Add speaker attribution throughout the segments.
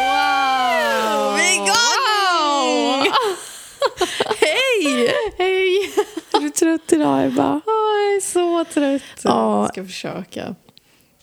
Speaker 1: Wow!
Speaker 2: Vi är igång! Hej!
Speaker 1: Hej!
Speaker 2: Är du trött idag Ebba?
Speaker 1: Jag är så trött.
Speaker 2: Ja.
Speaker 1: Jag ska försöka.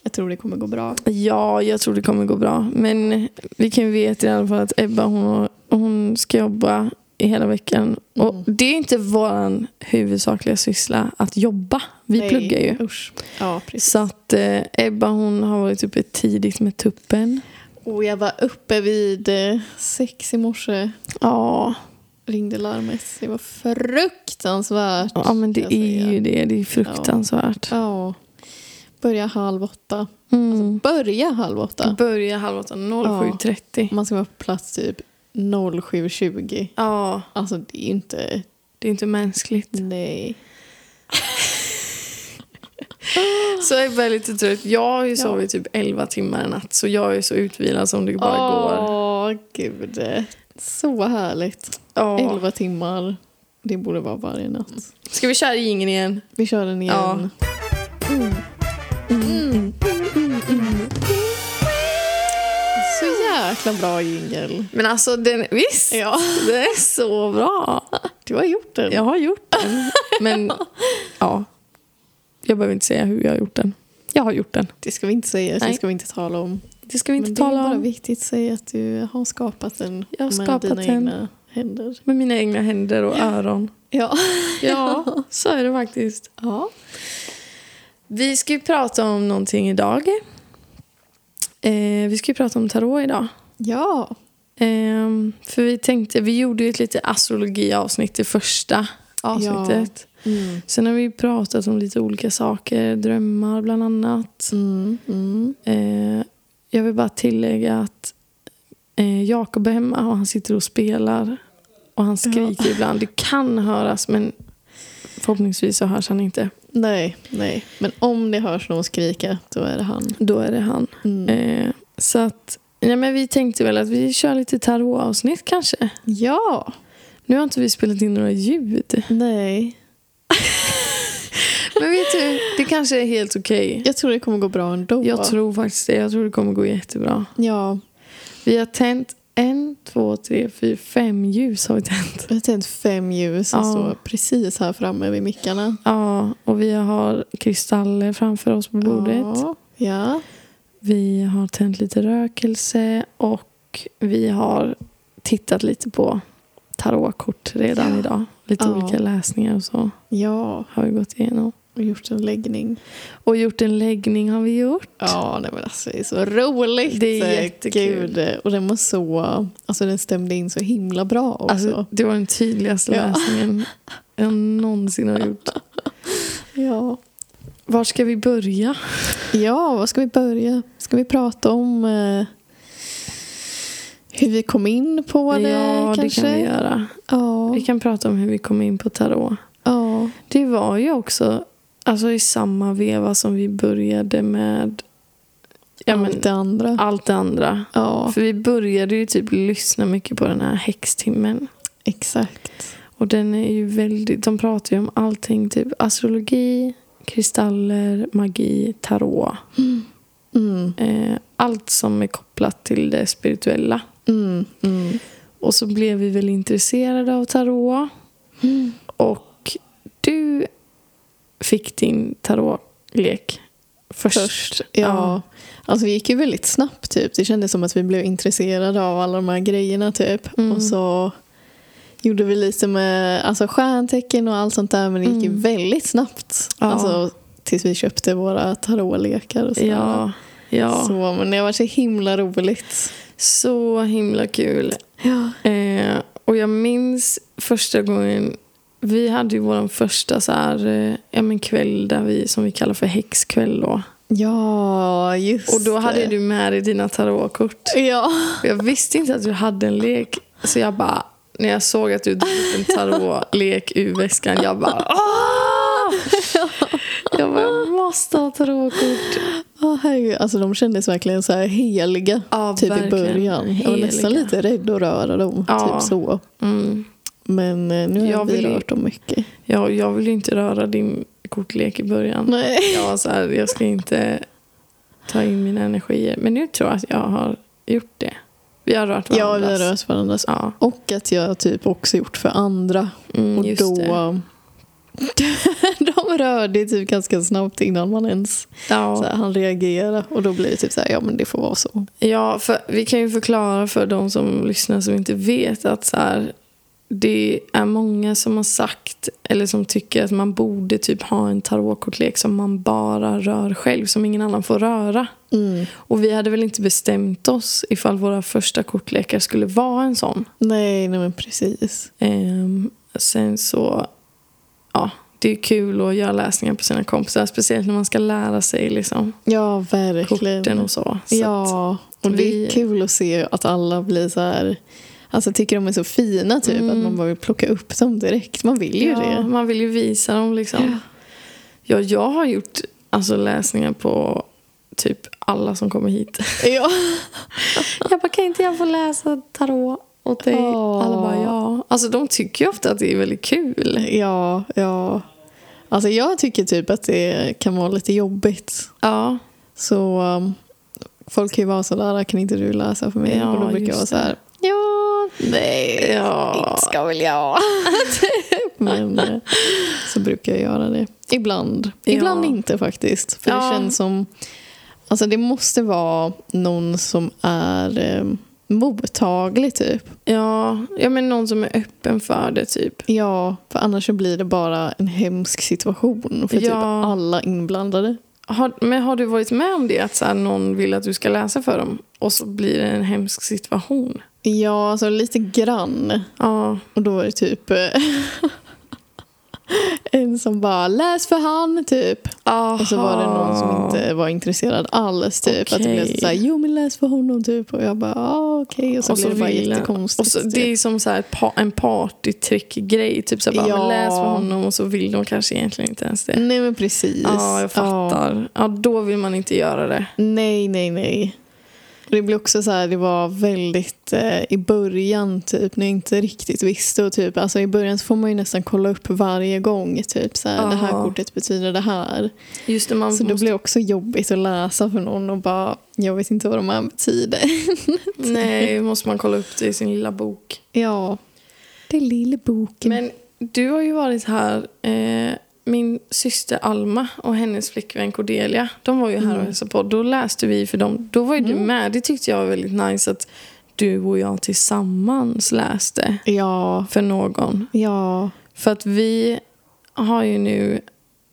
Speaker 1: Jag tror det kommer gå bra.
Speaker 2: Ja, jag tror det kommer gå bra. Men vi kan ju veta i alla fall att Ebba hon, hon ska jobba i hela veckan. Och
Speaker 1: Mm.
Speaker 2: det är inte vår huvudsakliga syssla att jobba. Vi
Speaker 1: Nej,
Speaker 2: pluggar ju.
Speaker 1: Usch. Ja, precis.
Speaker 2: Så att eh, Ebba hon har varit uppe tidigt med tuppen.
Speaker 1: Och jag var uppe vid eh, sex i morse.
Speaker 2: Ja,
Speaker 1: Ringde larmet. Det var fruktansvärt.
Speaker 2: ja men det
Speaker 1: ska jag
Speaker 2: är
Speaker 1: säga.
Speaker 2: ju det. Det är fruktansvärt.
Speaker 1: Ja. Alltså, Börja halv åtta.
Speaker 2: Mm.
Speaker 1: Börja halv åtta.
Speaker 2: Börja halv åtta, 07.30.
Speaker 1: Man ska vara på plats typ 07.20.
Speaker 2: Ja,
Speaker 1: Alltså det är inte...
Speaker 2: det är inte mänskligt.
Speaker 1: Nej.
Speaker 2: Så jag är väldigt trött. Jag har ju
Speaker 1: Ja.
Speaker 2: sovit typ 11 timmar i natt så jag är så utvilad som det bara går.
Speaker 1: Åh, gud. Så härligt.
Speaker 2: Ja.
Speaker 1: 11 timmar. Det borde vara varje natt.
Speaker 2: Ska vi köra ingen igen?
Speaker 1: Vi kör den igen. Mm.
Speaker 2: Ja.
Speaker 1: Så jäkla bra jingel.
Speaker 2: Men alltså den, visst?
Speaker 1: Ja.
Speaker 2: Den är så bra.
Speaker 1: Du har gjort den.
Speaker 2: Jag har gjort den. Men ja, jag behöver inte säga hur jag har gjort den. Jag har gjort den.
Speaker 1: Det ska vi inte säga, så
Speaker 2: Nej.
Speaker 1: det ska vi inte tala om.
Speaker 2: Det ska vi inte
Speaker 1: Men det är
Speaker 2: tala
Speaker 1: bara
Speaker 2: om.
Speaker 1: viktigt att säga att du har skapat den
Speaker 2: Jag har
Speaker 1: med
Speaker 2: skapat
Speaker 1: dina
Speaker 2: den.
Speaker 1: egna händer.
Speaker 2: Med mina egna händer och öron.
Speaker 1: Ja.
Speaker 2: Ja, så är det faktiskt.
Speaker 1: ja.
Speaker 2: Vi ska ju prata om någonting idag. Eh, vi ska ju prata om tarot idag.
Speaker 1: Ja.
Speaker 2: Ehm, för vi tänkte, vi gjorde ju ett lite astrologiavsnitt i första avsnittet.
Speaker 1: Mm.
Speaker 2: Sen har vi ju pratat om lite olika saker, drömmar bland annat.
Speaker 1: Mm. Mm.
Speaker 2: Eh, jag vill bara tillägga att eh, Jakob är hemma och han sitter och spelar. Och han skriker ibland. Det kan höras men förhoppningsvis så hörs han inte.
Speaker 1: Nej, nej. Men om det hörs någon skrika, då är det han.
Speaker 2: Då är det han.
Speaker 1: Mm.
Speaker 2: Eh, så att, ja, men vi tänkte väl att vi kör lite tarotavsnitt kanske.
Speaker 1: Ja.
Speaker 2: Nu har inte vi spelat in några ljud.
Speaker 1: Nej.
Speaker 2: Men vet du, det kanske är helt okej.
Speaker 1: Jag tror det kommer gå bra ändå.
Speaker 2: Jag tror faktiskt det. Jag tror det kommer gå jättebra.
Speaker 1: Ja.
Speaker 2: Vi har tänt en, två, tre, fyra, fem ljus har vi tänt.
Speaker 1: Jag har tänt fem ljus som
Speaker 2: Ja.
Speaker 1: står precis här framme vid mickarna.
Speaker 2: Ja, och vi har kristaller framför oss på bordet.
Speaker 1: Ja. ja.
Speaker 2: Vi har tänt lite rökelse och vi har tittat lite på tarotkort redan
Speaker 1: Ja.
Speaker 2: idag. Lite
Speaker 1: Ja.
Speaker 2: olika läsningar och så
Speaker 1: Ja.
Speaker 2: har vi gått igenom.
Speaker 1: Och gjort en läggning.
Speaker 2: Och gjort en läggning har vi gjort.
Speaker 1: Ja, nej, men alltså, det är så roligt.
Speaker 2: Det är jättekul.
Speaker 1: Gud, Och den var så... Alltså den stämde in så himla bra också.
Speaker 2: Alltså, det var den tydligaste
Speaker 1: Ja.
Speaker 2: läsningen jag någonsin har gjort.
Speaker 1: ja.
Speaker 2: Var ska vi börja?
Speaker 1: ja, vad ska vi börja? Ska vi prata om eh, hur vi kom in på det
Speaker 2: ja,
Speaker 1: kanske?
Speaker 2: det kan vi göra.
Speaker 1: Ja.
Speaker 2: Vi kan prata om hur vi kom in på tarot.
Speaker 1: ja.
Speaker 2: Det var ju också alltså, i samma veva som vi började med ja,
Speaker 1: Allt
Speaker 2: men,
Speaker 1: det andra.
Speaker 2: allt det andra.
Speaker 1: Ja,
Speaker 2: För vi började ju typ lyssna mycket på den här häxtimmen.
Speaker 1: exakt.
Speaker 2: Och den är ju väldigt, de pratar ju om allting, typ astrologi, kristaller, magi, tarot.
Speaker 1: Mm.
Speaker 2: Eh, allt som är kopplat till det spirituella.
Speaker 1: Mm. Mm.
Speaker 2: Och så blev vi väl intresserade av tarot. Och du fick din tarotlek först.
Speaker 1: Först. Ja. Alltså det gick ju väldigt snabbt typ. Det kändes som att vi blev intresserade av alla de här grejerna typ.
Speaker 2: Mm.
Speaker 1: Och så gjorde vi lite med alltså, stjärntecken och allt sånt där. Men det gick ju
Speaker 2: Mm.
Speaker 1: väldigt snabbt.
Speaker 2: Ja.
Speaker 1: Alltså tills vi köpte våra tarotlekar och sådär.
Speaker 2: Ja, ja.
Speaker 1: Så,
Speaker 2: Så.
Speaker 1: men det var så himla roligt.
Speaker 2: himla kul.
Speaker 1: Ja.
Speaker 2: Eh, och jag minns första gången vi hade ju vår första så här, eh, ja, men kväll där vi, som vi kallar för häxkväll. Då.
Speaker 1: Ja, just
Speaker 2: Och då hade
Speaker 1: det.
Speaker 2: du med dig dina tarotkort.
Speaker 1: Ja.
Speaker 2: Och Jag visste inte att du hade en lek. Så jag bara, när jag såg att du drog en tarotlek ur väskan, jag bara Åh! Jag bara, jag måste ha tarotkort.
Speaker 1: Ja, herregud. Alltså de kändes verkligen så här heliga.
Speaker 2: Ja,
Speaker 1: typ i
Speaker 2: verkligen.
Speaker 1: början. Jag var nästan
Speaker 2: Heliga.
Speaker 1: lite rädd att röra dem.
Speaker 2: Ja.
Speaker 1: Typ så.
Speaker 2: Mm.
Speaker 1: Men eh, nu har
Speaker 2: Jag
Speaker 1: vi
Speaker 2: vill ju-
Speaker 1: rört dem mycket.
Speaker 2: Jag, jag ville ju inte röra din kortlek i början.
Speaker 1: Nej.
Speaker 2: Jag var så här, jag ska inte ta in mina energier. Men nu tror jag att jag har gjort det. Vi har rört
Speaker 1: Ja, vi
Speaker 2: varandras.
Speaker 1: har rört varandras.
Speaker 2: Ja,
Speaker 1: Och att jag typ också gjort för andra.
Speaker 2: mm,
Speaker 1: Och
Speaker 2: just det.
Speaker 1: då... De rörde typ ganska snabbt innan man ens så
Speaker 2: Ja.
Speaker 1: här, han reagera Och då blir det typ så här, ja men det får vara så.
Speaker 2: ja, för vi kan ju förklara för de som lyssnar som inte vet att så här, det är många som har sagt eller som tycker att man borde typ ha en tarotkortlek som man bara rör själv, som ingen annan får röra.
Speaker 1: Mm.
Speaker 2: Och vi hade väl inte bestämt oss ifall våra första kortlekar skulle vara en sån.
Speaker 1: Nej, nej men precis.
Speaker 2: Ehm, sen så, ja, det är kul att göra läsningar på sina kompisar. Speciellt när man ska lära sig liksom,
Speaker 1: Ja, verkligen.
Speaker 2: korten och så. så att,
Speaker 1: ja, och det
Speaker 2: vi-
Speaker 1: är kul att se att alla blir så här... Alltså tycker de är så fina typ
Speaker 2: Mm.
Speaker 1: att man bara vill plocka upp dem direkt. Man vill ju
Speaker 2: ja,
Speaker 1: det.
Speaker 2: Man vill ju visa dem liksom.
Speaker 1: Ja.
Speaker 2: Ja, jag har gjort alltså, läsningar på typ alla som kommer hit.
Speaker 1: Ja.
Speaker 2: jag bara, kan inte jag få läsa tarot åt dig?
Speaker 1: Åh.
Speaker 2: Alla bara, ja. Alltså de tycker ju ofta att det är väldigt kul.
Speaker 1: ja, ja. Alltså jag tycker typ att det kan vara lite jobbigt.
Speaker 2: Ja,
Speaker 1: Så um, folk kan ju vara sådär, kan inte du läsa för mig?
Speaker 2: Ja,
Speaker 1: och då brukar jag vara
Speaker 2: just
Speaker 1: så här, ja, nej,
Speaker 2: Ja.
Speaker 1: inte ska väl jag. Typ. Men eh, så brukar jag göra det. Ibland,
Speaker 2: Ja.
Speaker 1: ibland inte faktiskt. För
Speaker 2: Ja.
Speaker 1: det känns som, alltså det måste vara någon som är eh, mottaglig typ.
Speaker 2: ja, ja, men någon som är öppen för det typ.
Speaker 1: Ja, för annars så blir det bara en hemsk situation för typ
Speaker 2: Ja.
Speaker 1: alla inblandade.
Speaker 2: Har, men har du varit med om det? Att så här, någon vill att du ska läsa för dem och så blir det en hemsk situation?
Speaker 1: Ja, alltså lite grann.
Speaker 2: Ja.
Speaker 1: Och då var det typ eh, en som bara läs för han typ.
Speaker 2: Aha.
Speaker 1: Och så var det någon som inte var intresserad alls typ. Att det blev
Speaker 2: Okej.
Speaker 1: så här, jo men läs för honom typ. Och jag bara ah, okej. Och så blev det bara
Speaker 2: vill den-
Speaker 1: jättekonstigt. typ.
Speaker 2: Och så, det är som så här ett pa, en partytrick-grej. Typ så här, bara,
Speaker 1: Ja.
Speaker 2: men läs för honom och så vill de kanske egentligen inte ens det.
Speaker 1: Nej men precis.
Speaker 2: Ja, jag fattar. Mm, Ja, då vill man inte göra det.
Speaker 1: Nej, nej, nej. Och Det blev också så här, det var väldigt eh, i början typ när jag inte riktigt visste och typ, alltså i början så får man ju nästan kolla upp varje gång typ så här, det här
Speaker 2: Ja.
Speaker 1: kortet betyder det här.
Speaker 2: Just det, man
Speaker 1: Så det
Speaker 2: måste...
Speaker 1: blir också jobbigt att läsa för någon och bara, jag vet inte vad de här betyder.
Speaker 2: Nej, måste man kolla upp det i sin lilla bok.
Speaker 1: Ja, det är lilla boken.
Speaker 2: Men du har ju varit här. Eh, min syster Alma och hennes flickvän Cordelia, de var ju här och hälsade på. Då läste vi för dem. Då var ju du med. Det tyckte jag var väldigt nice att du och jag tillsammans läste
Speaker 1: Ja,
Speaker 2: för någon.
Speaker 1: ja,
Speaker 2: För att vi har ju nu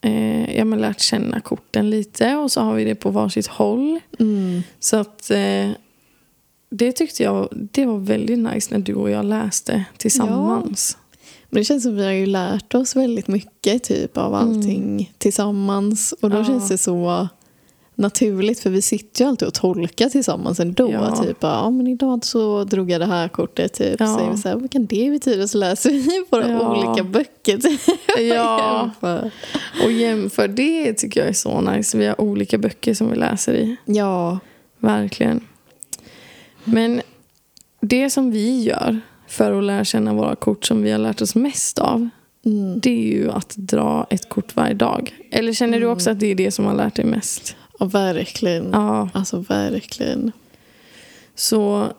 Speaker 2: eh, ja, men lärt känna korten lite och så har vi det på varsitt håll.
Speaker 1: mm,
Speaker 2: Så att eh, det tyckte jag det var väldigt nice när du och jag läste tillsammans.
Speaker 1: Men det känns som vi har ju lärt oss väldigt mycket typ av allting tillsammans. Och då
Speaker 2: Mm. Ja.
Speaker 1: känns det så naturligt för vi sitter ju alltid och tolkar tillsammans ändå.
Speaker 2: Ja.
Speaker 1: Typ ja men idag så drog jag det här kortet typ.
Speaker 2: Ja.
Speaker 1: Så är vi så här, vad kan det betyda? Så läser vi våra
Speaker 2: Ja.
Speaker 1: olika böcker. typ, och
Speaker 2: Ja,
Speaker 1: jämför.
Speaker 2: och jämför det tycker jag är så nice. Vi har olika böcker som vi läser i.
Speaker 1: ja.
Speaker 2: Verkligen. Men det som vi gör för att lära känna våra kort som vi har lärt oss mest av
Speaker 1: Mm.
Speaker 2: det är ju att dra ett kort varje dag. Eller känner du också att det är det som har lärt dig mest?
Speaker 1: ja, verkligen.
Speaker 2: Ja,
Speaker 1: Alltså verkligen.
Speaker 2: så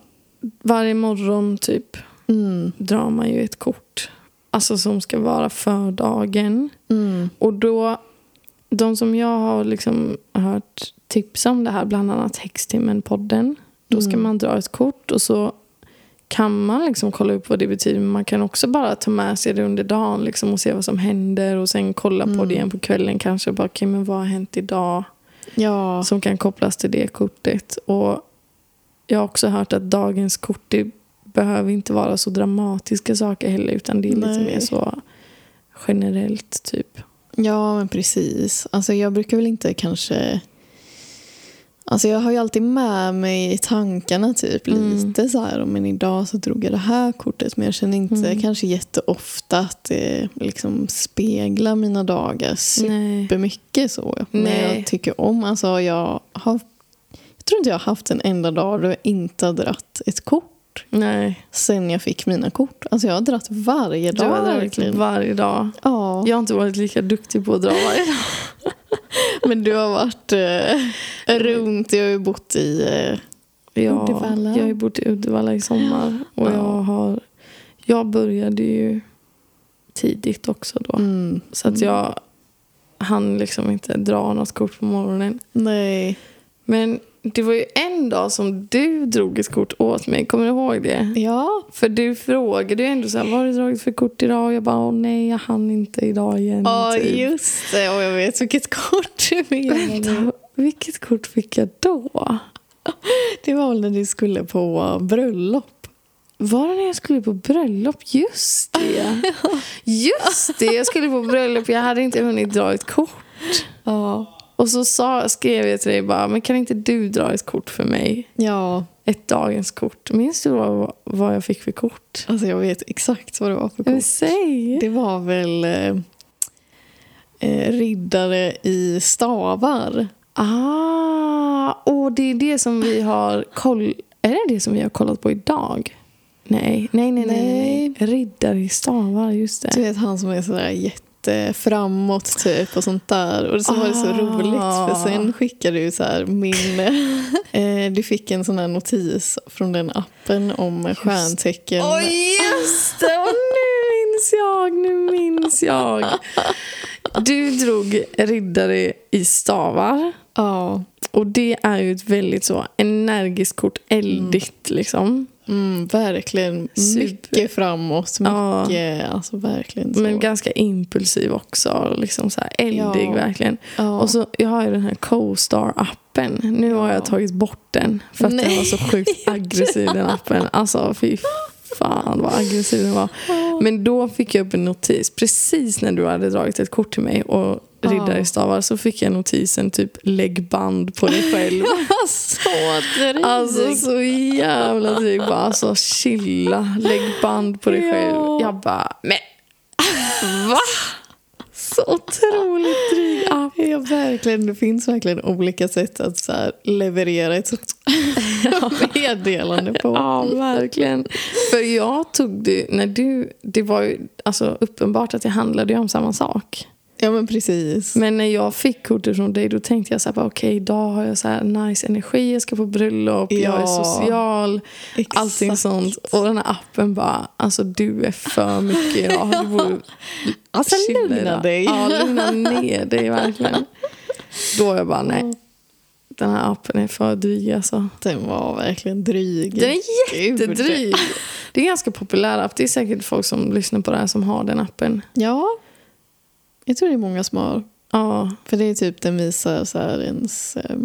Speaker 2: varje morgon typ
Speaker 1: Mm.
Speaker 2: drar man ju ett kort. Alltså som ska vara för dagen.
Speaker 1: Mm.
Speaker 2: Och då, de som jag har liksom hört tips om det här, bland annat Häxtimmen-podden. Då ska
Speaker 1: Mm.
Speaker 2: man dra ett kort och så kan man liksom kolla upp vad det betyder. Men man kan också bara ta med sig det under dagen liksom och se vad som händer. Och sen kolla på
Speaker 1: Mm.
Speaker 2: det igen på kvällen kanske. Bara, okay, men vad har hänt idag?
Speaker 1: Ja.
Speaker 2: Som kan kopplas till det kortet. Och jag har också hört att dagens kort det behöver inte vara så dramatiska saker heller. Utan det är lite
Speaker 1: Nej.
Speaker 2: mer så generellt typ.
Speaker 1: Ja, men precis. Alltså jag brukar väl inte kanske... Alltså jag har ju alltid med mig i tankarna typ
Speaker 2: Mm.
Speaker 1: lite så här, men idag så drog jag det här kortet. Men jag känner inte
Speaker 2: Mm.
Speaker 1: kanske jätteofta att det liksom speglar mina dagar
Speaker 2: Nej.
Speaker 1: supermycket så. Men
Speaker 2: Nej.
Speaker 1: jag tycker om, alltså jag har... Jag tror inte jag har haft en enda dag då jag inte har dratt ett kort
Speaker 2: Nej,
Speaker 1: sen jag fick mina kort. Alltså jag har dratt varje
Speaker 2: du
Speaker 1: dag
Speaker 2: har dragit
Speaker 1: verkligen.
Speaker 2: varje dag.
Speaker 1: ja.
Speaker 2: Jag har inte varit lika duktig på att dra varje dag.
Speaker 1: Men du har varit eh, runt, jag har ju bott i... Eh,
Speaker 2: Jag,
Speaker 1: Uddevalla.
Speaker 2: jag har ju bott i Uddevalla i sommar. Och
Speaker 1: Ja.
Speaker 2: jag, har, jag började ju tidigt också då.
Speaker 1: mm,
Speaker 2: Så att jag hann liksom inte dra något kort på morgonen.
Speaker 1: nej,
Speaker 2: Men det var ju en dag som du drog ett kort åt mig. Kommer du ihåg det?
Speaker 1: ja.
Speaker 2: För du frågade ju ändå så här, vad har du dragit för kort idag? Och jag bara, åh nej, jag hann inte idag igen.
Speaker 1: Ja,
Speaker 2: typ.
Speaker 1: just det. Och jag vet vilket kort du menar.
Speaker 2: Vänta, vilket kort fick jag då?
Speaker 1: Det var väl när du skulle på bröllop.
Speaker 2: Var det när jag skulle på bröllop? Just det! Just det, jag skulle på bröllop. Jag hade inte hunnit dra ett kort.
Speaker 1: Ja.
Speaker 2: Och så sa, skrev jag till dig bara, men kan inte du dra ett kort för mig?
Speaker 1: Ja,
Speaker 2: Ett dagens kort. Minns du vad, vad jag fick för kort?
Speaker 1: alltså jag vet exakt vad det var för
Speaker 2: Men
Speaker 1: kort.
Speaker 2: Säg!
Speaker 1: Det var väl eh, eh, riddare i stavar.
Speaker 2: Ah, och det är det som vi har koll... Är det det som vi har kollat på idag? Nej, nej, nej, nej. nej. nej. Riddare i stavar, just det.
Speaker 1: Du vet han som är sådär jätteframåt typ och sånt där. Och så var det så
Speaker 2: Ah.
Speaker 1: roligt för sen skickade du så här min... eh, du fick en sån här notis från den appen om stjärntecken.
Speaker 2: Åh just det! Och nu minns jag, nu minns jag. Du drog riddare i stavar.
Speaker 1: Ja.
Speaker 2: Och det är ju ett väldigt så energiskt kort, eldigt liksom.
Speaker 1: Mm, verkligen.
Speaker 2: Super.
Speaker 1: Mycket framåt.
Speaker 2: Ja.
Speaker 1: Mycket, alltså verkligen så.
Speaker 2: Men ganska impulsiv också, liksom så här eldig
Speaker 1: Ja.
Speaker 2: verkligen.
Speaker 1: ja.
Speaker 2: Och så, jag har ju den här Co-star-appen. Nu har jag tagit bort den för att den
Speaker 1: Nej.
Speaker 2: var så sjukt aggressiv den appen. Alltså fy fan vad aggressiv den var. Men då fick jag upp en notis precis när du hade dragit ett kort till mig och
Speaker 1: Ja.
Speaker 2: riddare i stavar så fick jag notisen typ lägg band på dig själv.
Speaker 1: så dryg.
Speaker 2: Alltså så jävla dryg. Bara, Alltså chilla, lägg band på dig
Speaker 1: Ja.
Speaker 2: själv. Jag bara men va? Så otroligt dryg app.
Speaker 1: Ja, verkligen. Det finns verkligen olika sätt att så här, leverera ett sånt meddelande på.
Speaker 2: Ja, verkligen. För jag tog det när du... Det var ju alltså, uppenbart att det handlade ju om samma sak.
Speaker 1: Ja, men precis.
Speaker 2: Men när jag fick kortet från dig då tänkte jag så här, bara, okej idag har jag så här nice energi, jag ska på bröllop, jag är
Speaker 1: Ja.
Speaker 2: social,
Speaker 1: Exakt.
Speaker 2: allting sånt. Och den här appen bara, alltså du är för mycket idag. Du borde
Speaker 1: Alltså,
Speaker 2: chilla
Speaker 1: lugna
Speaker 2: idag.
Speaker 1: dig.
Speaker 2: Ja, lugna ner dig verkligen. Då är jag bara, nej. Den här appen är för dryg alltså.
Speaker 1: Den var verkligen dryg.
Speaker 2: Den är
Speaker 1: Gud.
Speaker 2: jättedryg. Det är en ganska populär app. Det är säkert folk som lyssnar på det här som har den appen.
Speaker 1: Ja. Jag tror det är många som har.
Speaker 2: Ja,
Speaker 1: För det är typ den visar så här ens eh,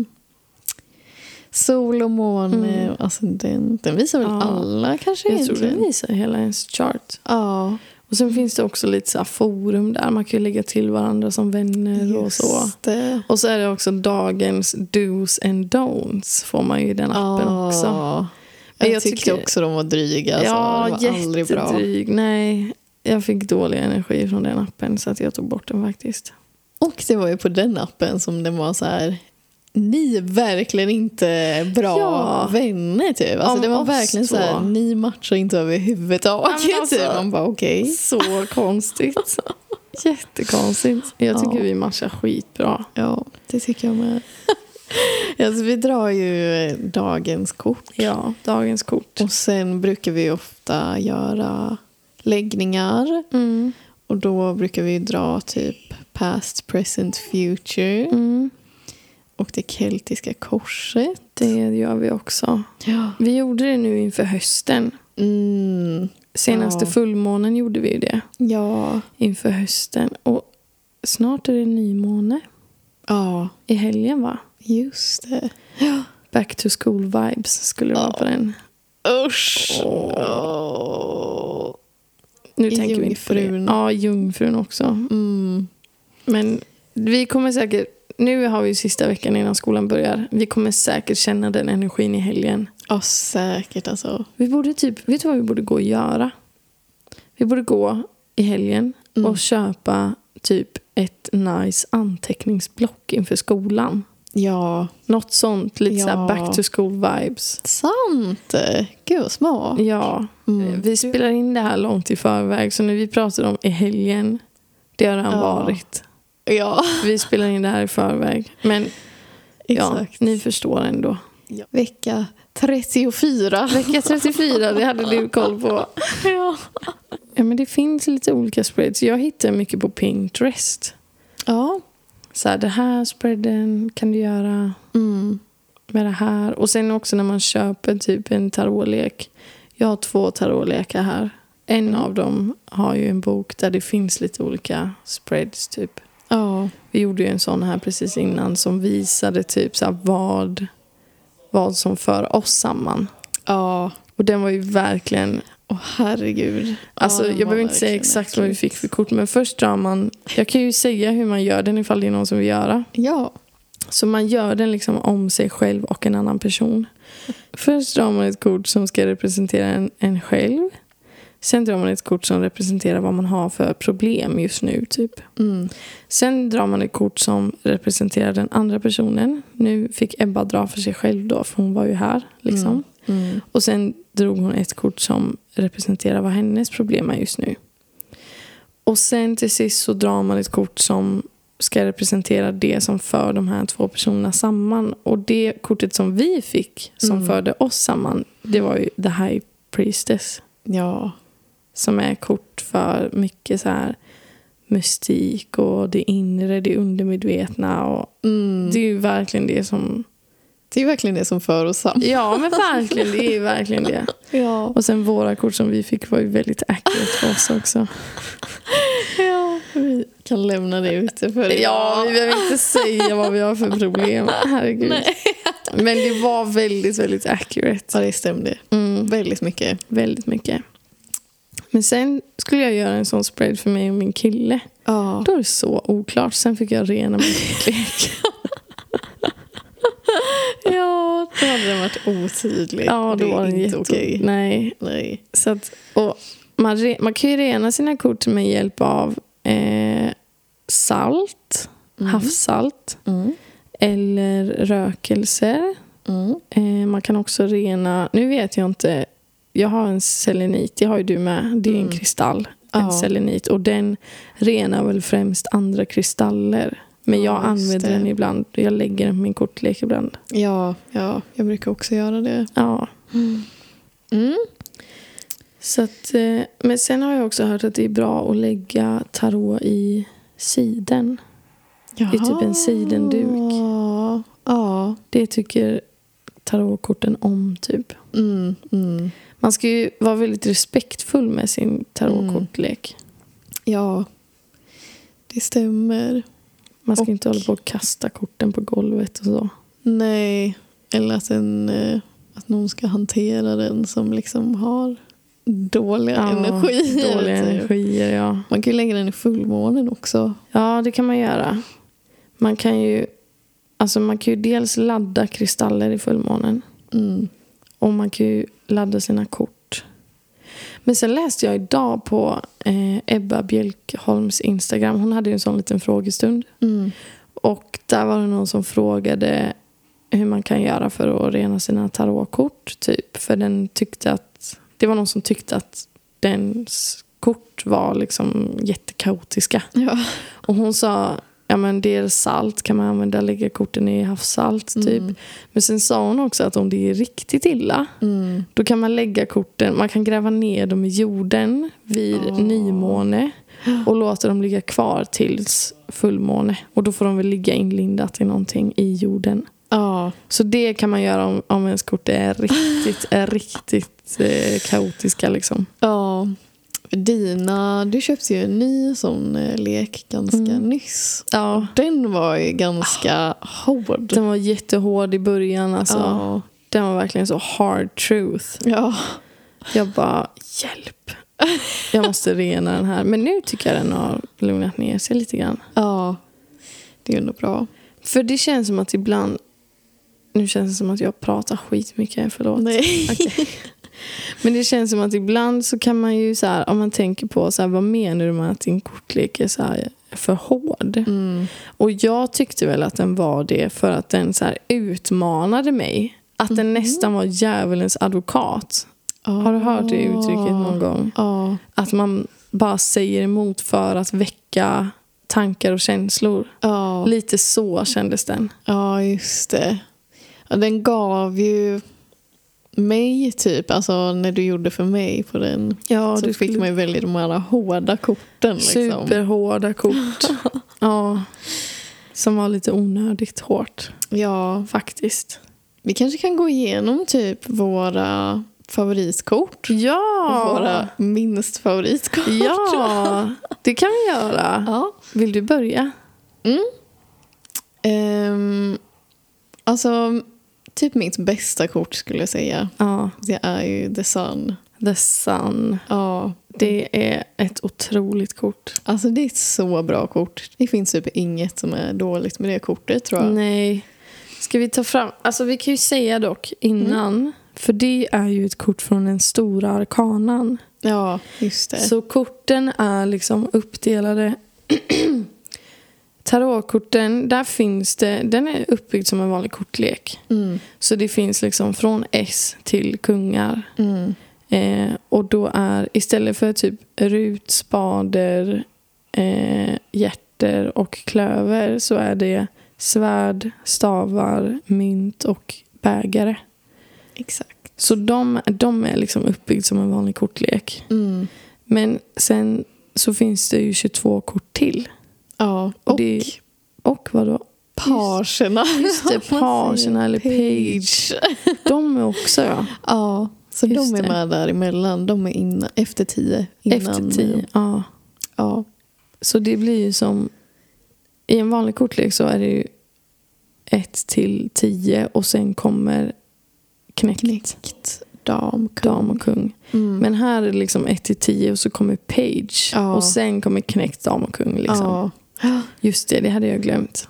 Speaker 1: sol och måne.
Speaker 2: Mm.
Speaker 1: Alltså, den, den visar väl
Speaker 2: Ja.
Speaker 1: alla kanske
Speaker 2: jag tror
Speaker 1: egentligen?
Speaker 2: den visar hela ens chart.
Speaker 1: Ja,
Speaker 2: Och sen finns det också lite så här forum där man kan ju lägga till varandra som vänner och så.
Speaker 1: just det.
Speaker 2: Och så är det också dagens dos and don'ts får man ju i den appen
Speaker 1: Ja.
Speaker 2: också. Men
Speaker 1: Jag,
Speaker 2: jag
Speaker 1: tyckte
Speaker 2: tycker-
Speaker 1: också de var dryga. Alltså. det var aldrig bra.
Speaker 2: jättedryg. Nej, jag fick dålig energi från den appen så att jag tog bort den faktiskt.
Speaker 1: Och det var ju på den appen som den var så här... Ni är verkligen inte bra
Speaker 2: Ja.
Speaker 1: vänner typ. Alltså,
Speaker 2: Om
Speaker 1: det var
Speaker 2: oss
Speaker 1: verkligen så
Speaker 2: två.
Speaker 1: här, ni matchar inte överhuvudtaget.
Speaker 2: Ja, men alltså-
Speaker 1: typ. Man bara okej.
Speaker 2: Så konstigt. Jättekonstigt. Jag tycker
Speaker 1: Ja.
Speaker 2: vi matchar skitbra.
Speaker 1: Ja, det tycker jag med. alltså, vi drar ju eh, dagens kort.
Speaker 2: Ja, dagens kort.
Speaker 1: Och sen brukar vi ofta göra läggningar.
Speaker 2: Mm.
Speaker 1: Och då brukar vi dra typ past, present, future.
Speaker 2: Mm.
Speaker 1: Och det keltiska korset.
Speaker 2: Det gör vi också.
Speaker 1: Ja.
Speaker 2: Vi gjorde det nu inför hösten.
Speaker 1: Mm.
Speaker 2: Senaste
Speaker 1: Ja.
Speaker 2: fullmånen gjorde vi ju det
Speaker 1: Ja.
Speaker 2: inför hösten. Och snart är det nymåne
Speaker 1: Ja,
Speaker 2: i helgen va?
Speaker 1: just det.
Speaker 2: Back to school vibes skulle det vara på den.
Speaker 1: Usch! Åh.
Speaker 2: Nu
Speaker 1: I
Speaker 2: tänker vi inte på det.
Speaker 1: Jungfrun.
Speaker 2: Ja, jungfrun också.
Speaker 1: Mm.
Speaker 2: Men vi kommer säkert... Nu har vi ju sista veckan innan skolan börjar. Vi kommer säkert känna den energin i helgen.
Speaker 1: Ja, säkert alltså.
Speaker 2: Vi borde typ, vet du vad vi borde gå och göra? Vi borde gå i helgen
Speaker 1: Mm.
Speaker 2: och köpa typ ett nice anteckningsblock inför skolan.
Speaker 1: Ja,
Speaker 2: Något sånt, lite så här
Speaker 1: Ja.
Speaker 2: back to school vibes.
Speaker 1: sant! Gud vad smart.
Speaker 2: Ja,
Speaker 1: Mm.
Speaker 2: vi spelar in det här långt i förväg så när vi pratar om i helgen, det har redan
Speaker 1: Ja.
Speaker 2: varit.
Speaker 1: Ja,
Speaker 2: Vi spelar in det här i förväg. Men ja,
Speaker 1: exakt.
Speaker 2: ni förstår ändå.
Speaker 1: Vecka 34.
Speaker 2: Vecka 34, det hade du koll på.
Speaker 1: Ja.
Speaker 2: Ja, men det finns lite olika spreads. Jag hittar mycket på Pinterest.
Speaker 1: ja.
Speaker 2: Så här, det här spreaden kan du göra
Speaker 1: Mm.
Speaker 2: med det här. Och sen också när man köper typ en tarotlek. Jag har två tarotlekar här. En av dem har ju en bok där det finns lite olika spreads typ.
Speaker 1: Ja.
Speaker 2: Vi gjorde ju en sån här precis innan som visade typ så här vad, vad som för oss samman.
Speaker 1: Ja.
Speaker 2: Och den var ju verkligen
Speaker 1: Åh herregud.
Speaker 2: Alltså,
Speaker 1: Ja, den
Speaker 2: jag
Speaker 1: var
Speaker 2: behöver inte säga
Speaker 1: verkligen
Speaker 2: exakt vad vi
Speaker 1: äckligt.
Speaker 2: fick för kort, men först drar man... Jag kan ju säga hur man gör den ifall det är någon som vill göra.
Speaker 1: Ja.
Speaker 2: Så man gör den liksom om sig själv och en annan person. Först drar man ett kort som ska representera en, en själv. Sen drar man ett kort som representerar vad man har för problem just nu, typ.
Speaker 1: Mm.
Speaker 2: Sen drar man ett kort som representerar den andra personen. Nu fick Ebba dra för sig själv då, för hon var ju här, liksom.
Speaker 1: Mm. Mm.
Speaker 2: Och sen drog hon ett kort som representerar vad hennes problem är just nu. Och sen till sist så drar man ett kort som ska representera det som för de här två personerna samman. Och det kortet som vi fick som
Speaker 1: Mm.
Speaker 2: förde oss samman, det var ju The High Priestess.
Speaker 1: Ja.
Speaker 2: Som är kort för mycket så här mystik och det inre, det undermedvetna. Och
Speaker 1: Mm.
Speaker 2: Det är ju verkligen det som...
Speaker 1: Det är verkligen det som för oss samman.
Speaker 2: Ja men verkligen, det är ju verkligen det.
Speaker 1: Ja.
Speaker 2: Och sen våra kort som vi fick var ju väldigt accurate för oss också.
Speaker 1: ja. Vi kan lämna det ute för
Speaker 2: Ja, vi behöver inte säga vad vi har för problem. Herregud.
Speaker 1: Nej.
Speaker 2: Men det var väldigt, väldigt accurate.
Speaker 1: Ja, det stämde.
Speaker 2: Mm,
Speaker 1: Väldigt mycket.
Speaker 2: väldigt mycket. Men sen skulle jag göra en sån spread för mig och min kille.
Speaker 1: Ja.
Speaker 2: Då är det så oklart. Sen fick jag rena mig.
Speaker 1: Ja, då hade den varit otydlig.
Speaker 2: Ja, då
Speaker 1: det
Speaker 2: var
Speaker 1: är
Speaker 2: den
Speaker 1: inte
Speaker 2: jätte...
Speaker 1: okej.
Speaker 2: Nej.
Speaker 1: Nej.
Speaker 2: Så att, och man, re... man kan ju rena sina kort med hjälp av eh, salt,
Speaker 1: Mm.
Speaker 2: havssalt
Speaker 1: Mm.
Speaker 2: eller rökelser.
Speaker 1: Mm.
Speaker 2: Eh, man kan också rena, nu vet jag inte, jag har en selenit, det har ju du med, det är en
Speaker 1: Mm.
Speaker 2: kristall, en
Speaker 1: Ja.
Speaker 2: selenit. Och den renar väl främst andra kristaller. Men jag
Speaker 1: Ja, just
Speaker 2: använder
Speaker 1: det.
Speaker 2: den ibland, jag lägger den på min kortlek ibland.
Speaker 1: Ja, ja, jag brukar också göra det.
Speaker 2: Ja.
Speaker 1: Mm.
Speaker 2: Så att, eh, men sen har jag också hört att det är bra att lägga tarot i siden.
Speaker 1: Jaha.
Speaker 2: Det är typ en sidenduk.
Speaker 1: Ja. ja.
Speaker 2: Det tycker tarotkorten om typ.
Speaker 1: Mm, mm.
Speaker 2: Man ska ju vara väldigt respektfull med sin tarotkortlek.
Speaker 1: Ja, det stämmer.
Speaker 2: Man ska
Speaker 1: Och-
Speaker 2: inte hålla på och kasta korten på golvet och så.
Speaker 1: Nej, eller att, en, eh, att någon ska hantera den som liksom har dåliga
Speaker 2: Ja,
Speaker 1: energier.
Speaker 2: Dåliga
Speaker 1: typ.
Speaker 2: energier, ja.
Speaker 1: Man kan ju lägga den i fullmånen också.
Speaker 2: Ja, det kan man göra. Man kan ju, alltså man kan ju dels ladda kristaller i fullmånen
Speaker 1: Mm.
Speaker 2: och man kan ju ladda sina kort. Men sen läste jag idag på eh, Ebba Bjelkholms Instagram. Hon hade ju en sån liten frågestund.
Speaker 1: Mm.
Speaker 2: Och där var det någon som frågade hur man kan göra för att rena sina tarotkort. Typ. För den tyckte att, det var någon som tyckte att dens kort var liksom jättekaotiska.
Speaker 1: Ja.
Speaker 2: Och hon sa, ja men det är salt kan man använda, lägga korten i havssalt typ.
Speaker 1: Mm.
Speaker 2: Men sen sa hon också att om det är riktigt illa,
Speaker 1: Mm.
Speaker 2: då kan man lägga korten, man kan gräva ner dem i jorden vid
Speaker 1: Åh.
Speaker 2: nymåne och låta dem ligga kvar tills fullmåne. Och då får de väl ligga inlindat i någonting i jorden.
Speaker 1: Ja.
Speaker 2: Så det kan man göra om, om ens kort är riktigt, är riktigt eh, kaotiska liksom.
Speaker 1: ja. Dina, du köpte ju en ny sån eh, lek ganska
Speaker 2: Mm.
Speaker 1: nyss.
Speaker 2: Ja.
Speaker 1: Den var ju ganska hård.
Speaker 2: Den var jättehård i början alltså.
Speaker 1: Ja.
Speaker 2: Den var verkligen så hard truth.
Speaker 1: Ja.
Speaker 2: Jag bara, hjälp. Jag måste rena den här. Men nu tycker jag den har lugnat ner sig lite grann.
Speaker 1: ja, det är ändå bra.
Speaker 2: För det känns som att ibland... Nu känns det som att jag pratar skitmycket, förlåt.
Speaker 1: Nej.
Speaker 2: Okej. Men det känns som att ibland så kan man ju så här, om man tänker på så här, vad menar du med att din kortlek är så här för hård?
Speaker 1: Mm.
Speaker 2: Och jag tyckte väl att den var det för att den så här utmanade mig. Att den
Speaker 1: Mhm.
Speaker 2: nästan var djävulens advokat. Har du hört det uttrycket någon gång?
Speaker 1: Ja.
Speaker 2: Att man bara säger emot för att väcka tankar och känslor.
Speaker 1: Ja,
Speaker 2: Lite så kändes den.
Speaker 1: ja just det. Ja, den gav ju mig typ, alltså när du gjorde för mig på den.
Speaker 2: Ja,
Speaker 1: så fick man ju välja de här hårda korten. Liksom.
Speaker 2: Superhårda kort. ja. Som var lite onödigt hårt,
Speaker 1: Ja,
Speaker 2: faktiskt.
Speaker 1: vi kanske kan gå igenom typ våra favoritkort.
Speaker 2: Ja!
Speaker 1: Våra minst favoritkort.
Speaker 2: Ja, det kan vi göra.
Speaker 1: ja.
Speaker 2: Vill du börja?
Speaker 1: Ehm, alltså, typ mitt bästa kort skulle jag säga.
Speaker 2: Ja,
Speaker 1: Det är ju The Sun.
Speaker 2: The Sun.
Speaker 1: Ja,
Speaker 2: Det är ett otroligt kort.
Speaker 1: alltså det är ett så bra kort. Det finns typ inget som är dåligt med det kortet tror jag.
Speaker 2: Nej. Ska vi ta fram... Alltså vi kan ju säga dock innan. För det är ju ett kort från den stora arkanan.
Speaker 1: Ja, just det.
Speaker 2: Så korten är liksom uppdelade. Tarotkorten, där finns det... Den är uppbyggd som en vanlig kortlek.
Speaker 1: Mm,
Speaker 2: Så det finns liksom från S till kungar.
Speaker 1: mm,
Speaker 2: Eh, och då är istället för typ rut, spader, eh, hjärter och klöver så är det svärd, stavar, mynt och bägare.
Speaker 1: exakt.
Speaker 2: Så de, de är liksom uppbyggd som en vanlig kortlek.
Speaker 1: Mm,
Speaker 2: Men sen så finns det ju 22 kort till.
Speaker 1: ja,
Speaker 2: Och,
Speaker 1: och
Speaker 2: det, och vadå?
Speaker 1: pagerna.
Speaker 2: Just det,
Speaker 1: Vad man
Speaker 2: pagerna
Speaker 1: säger.
Speaker 2: eller page. De är också ja.
Speaker 1: Ja, så
Speaker 2: Just
Speaker 1: de är
Speaker 2: det.
Speaker 1: med däremellan. De är innan, efter tio. Innan,
Speaker 2: Efter tio. Ja.
Speaker 1: Ja,
Speaker 2: Så det blir ju som... I en vanlig kortlek så är det ju 1 till 10 och sen kommer knäckt,
Speaker 1: knäckt, dam, kung.
Speaker 2: dam och kung.
Speaker 1: Mm.
Speaker 2: Men här är det liksom 1 till 10 och så kommer page
Speaker 1: Ja.
Speaker 2: och sen kommer knäckt, dam och kung. Liksom.
Speaker 1: Ja.
Speaker 2: Just det, det hade jag glömt.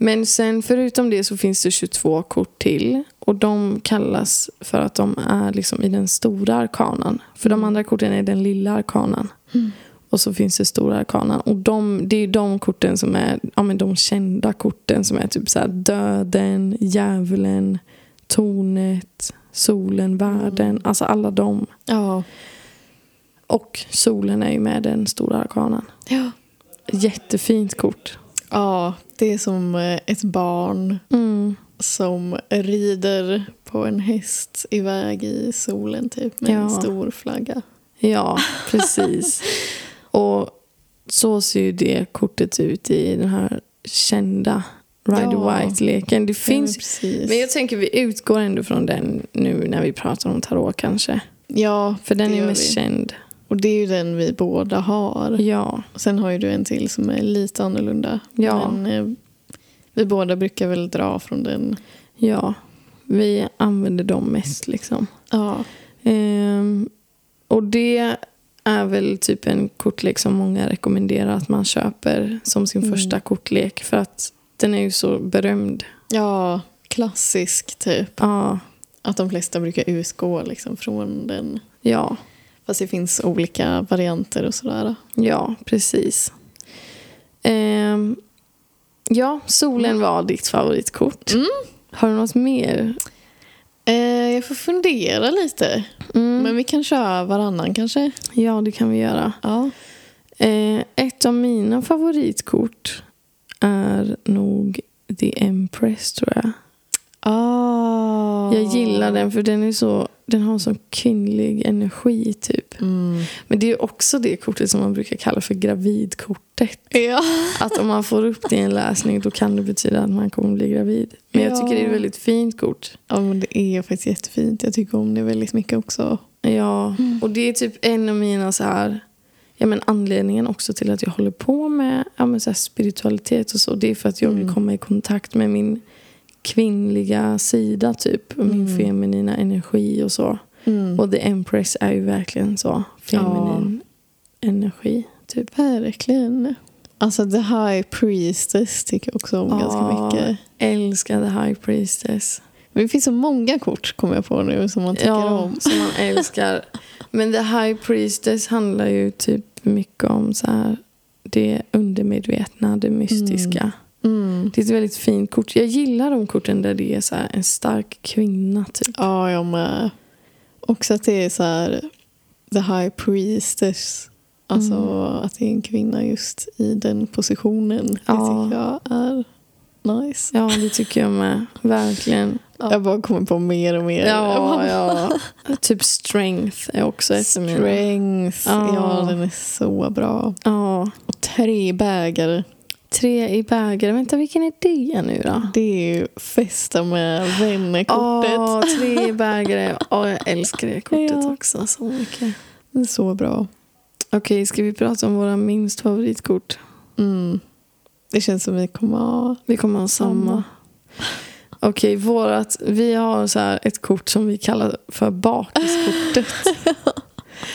Speaker 2: Men sen förutom det så finns det 22 kort till och de kallas för att de är liksom i den stora arkanan. För de andra korten är den lilla arkanan.
Speaker 1: Mm.
Speaker 2: Och så finns det stora arkanan. Och de, det är de korten som är ja, men de kända korten som är typ så här döden, djävulen, tornet, solen, världen. Alltså alla de.
Speaker 1: Ja.
Speaker 2: Och solen är ju med den stora arkanan.
Speaker 1: ja.
Speaker 2: Jättefint kort.
Speaker 1: Ja, det är som eh, ett barn
Speaker 2: Mm.
Speaker 1: som rider på en häst iväg i solen typ med en
Speaker 2: Ja.
Speaker 1: stor flagga.
Speaker 2: Ja, precis. och så ser ju det kortet ut i den här kända Rider
Speaker 1: Ja.
Speaker 2: White-leken. Det
Speaker 1: ja, men
Speaker 2: finns...
Speaker 1: precis.
Speaker 2: Men jag tänker vi utgår ändå från den nu när vi pratar om tarot kanske.
Speaker 1: ja,
Speaker 2: För den
Speaker 1: det
Speaker 2: är ju
Speaker 1: gör
Speaker 2: mest
Speaker 1: vi.
Speaker 2: känd.
Speaker 1: Och det är ju den vi båda har.
Speaker 2: Ja,
Speaker 1: Sen har ju du en till som är lite annorlunda.
Speaker 2: Ja.
Speaker 1: Men eh, vi båda brukar väl dra från den.
Speaker 2: ja. Vi använder dem mest liksom.
Speaker 1: Ja.
Speaker 2: Ehm, och det är väl typ en kortlek som många rekommenderar att man köper som sin
Speaker 1: Mm.
Speaker 2: första kortlek. För att den är ju så berömd.
Speaker 1: ja, klassisk typ.
Speaker 2: Ja,
Speaker 1: Att de flesta brukar utgå liksom från den.
Speaker 2: ja.
Speaker 1: Fast det finns olika varianter och sådär.
Speaker 2: Ja, precis. Ehm, ja, solen var ditt favoritkort.
Speaker 1: Mm.
Speaker 2: Har du något mer?
Speaker 1: Eh, jag får fundera lite.
Speaker 2: Mm.
Speaker 1: Men vi kan köra varannan kanske?
Speaker 2: Ja, det kan vi göra.
Speaker 1: Ja.
Speaker 2: Ehm, ett av mina favoritkort är nog The Empress, tror jag.
Speaker 1: Ah.
Speaker 2: Jag gillar den för den, är så, den har så kvinnlig energi, typ.
Speaker 1: Mm.
Speaker 2: Men det är ju också det kortet som man brukar kalla för gravidkortet.
Speaker 1: Ja.
Speaker 2: Att om man får upp det i en läsning då kan det betyda att man kommer bli gravid. Men jag tycker det är ett
Speaker 1: Ja.
Speaker 2: väldigt fint kort.
Speaker 1: ja, men det är faktiskt jättefint. Jag tycker om det väldigt mycket också.
Speaker 2: Ja,
Speaker 1: Mm.
Speaker 2: och det är typ en av mina så här, ja, men anledningen också till att jag håller på med ja, men så här spiritualitet och så. Det är för att jag vill
Speaker 1: Mm.
Speaker 2: komma i kontakt med min kvinnliga sida typ. och Min
Speaker 1: Mm.
Speaker 2: feminina energi och så.
Speaker 1: Mm.
Speaker 2: Och The Empress är ju verkligen så feminin energi. Typ.
Speaker 1: Verkligen. Alltså The High Priestess tycker jag också om
Speaker 2: Ja.
Speaker 1: ganska mycket.
Speaker 2: Älskar The High Priestess.
Speaker 1: Men det finns så många kort kommer jag på nu som man tycker om.
Speaker 2: som man älskar. Men The High Priestess handlar ju typ mycket om så här, det undermedvetna, det mystiska.
Speaker 1: Mm.
Speaker 2: Det är ett väldigt fint kort. Jag gillar de korten där det är så här en stark kvinna. Typ.
Speaker 1: Ja, jag med. Också att det är så här The High Priestess Alltså
Speaker 2: Mm.
Speaker 1: att det är en kvinna just i den positionen. Det
Speaker 2: Ja.
Speaker 1: tycker jag är nice.
Speaker 2: Ja, det tycker jag med. Verkligen.
Speaker 1: Jag bara kommer på mer och mer. Jag bara,
Speaker 2: Ja, ja. Typ strength är också ett av mina-
Speaker 1: Strength.
Speaker 2: Ja.
Speaker 1: Ja, den är så bra.
Speaker 2: Ja.
Speaker 1: Och tre bägare.
Speaker 2: Tre i bägare. Vänta, vilken är det nu då?
Speaker 1: Det är ju festa med vänner-kortet.
Speaker 2: Ja, tre i bägare. Ja, jag älskar det kortet
Speaker 1: Ja.
Speaker 2: också så mycket.
Speaker 1: Det är så bra.
Speaker 2: Okej, ska vi prata om våra minst favoritkort?
Speaker 1: Mm. Det känns som vi kommer ha...
Speaker 2: Vi kommer ha samma.
Speaker 1: Samma.
Speaker 2: Okej, vårat, vi har så här ett kort som vi kallar för bakiskortet.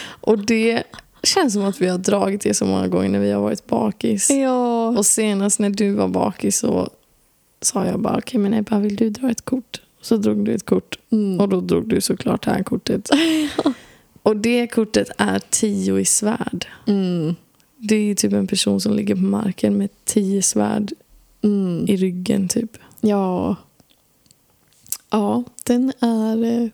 Speaker 2: Och det känns som att vi har dragit det så många gånger när vi har varit bakis.
Speaker 1: Ja.
Speaker 2: Och senast när du var bakis så sa jag bara okej men Ebba vill du dra ett kort? Så drog du ett kort
Speaker 1: Mm.
Speaker 2: och då drog du såklart det här kortet. Och det kortet är tio i svärd.
Speaker 1: Mm.
Speaker 2: Det är typ en person som ligger på marken med tio svärd
Speaker 1: Mm.
Speaker 2: i ryggen typ.
Speaker 1: Ja. Ja, den är eh,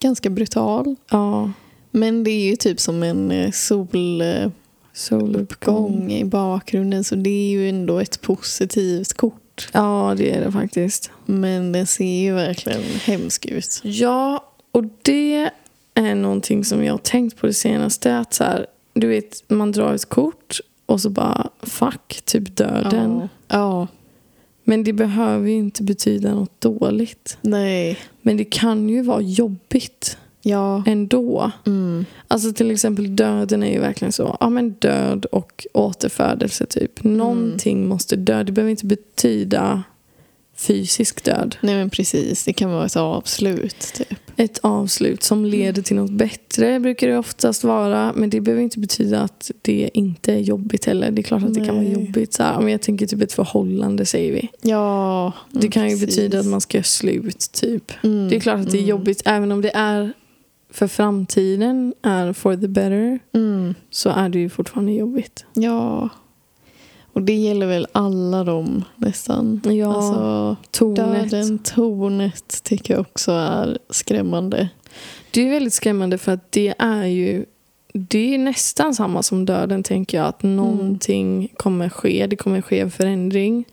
Speaker 1: ganska brutal.
Speaker 2: Ja,
Speaker 1: Men det är ju typ som en eh, soluppgång
Speaker 2: soluppgång.
Speaker 1: i bakgrunden så det är ju ändå ett positivt kort.
Speaker 2: Ja, det är det faktiskt.
Speaker 1: Men den ser ju verkligen hemsk ut.
Speaker 2: Ja, och det är någonting som jag har tänkt på det senaste. Att så här, du vet, man drar ett kort och så bara fuck, typ döden.
Speaker 1: Ja.
Speaker 2: Men det behöver ju inte betyda något dåligt.
Speaker 1: Nej.
Speaker 2: Men det kan ju vara jobbigt
Speaker 1: Ja.
Speaker 2: ändå.
Speaker 1: Mm.
Speaker 2: Alltså till exempel döden är ju verkligen så. Ja men död och återfödelse typ. Någonting måste dö. Det behöver inte betyda fysisk död.
Speaker 1: Nej men precis, det kan vara ett avslut typ.
Speaker 2: Ett avslut som leder till något bättre brukar det oftast vara. Men det behöver inte betyda att det inte är jobbigt heller. Det är klart att det kan vara
Speaker 1: Nej.
Speaker 2: jobbigt. Så här, om jag tänker typ ett förhållande säger vi.
Speaker 1: Ja. Mm.
Speaker 2: Det kan ju betyda att man ska göra slut typ. Det är klart att det är jobbigt. Även om det är för framtiden, är for the better,
Speaker 1: Mm.
Speaker 2: så är det ju fortfarande jobbigt.
Speaker 1: Ja. Och det gäller väl alla dem nästan.
Speaker 2: Ja,
Speaker 1: Alltså,
Speaker 2: tornet.
Speaker 1: döden, tornet tycker jag också är skrämmande.
Speaker 2: Det är ju väldigt skrämmande för att det är ju det är nästan samma som döden tänker jag. Att någonting kommer ske, det kommer ske en förändring.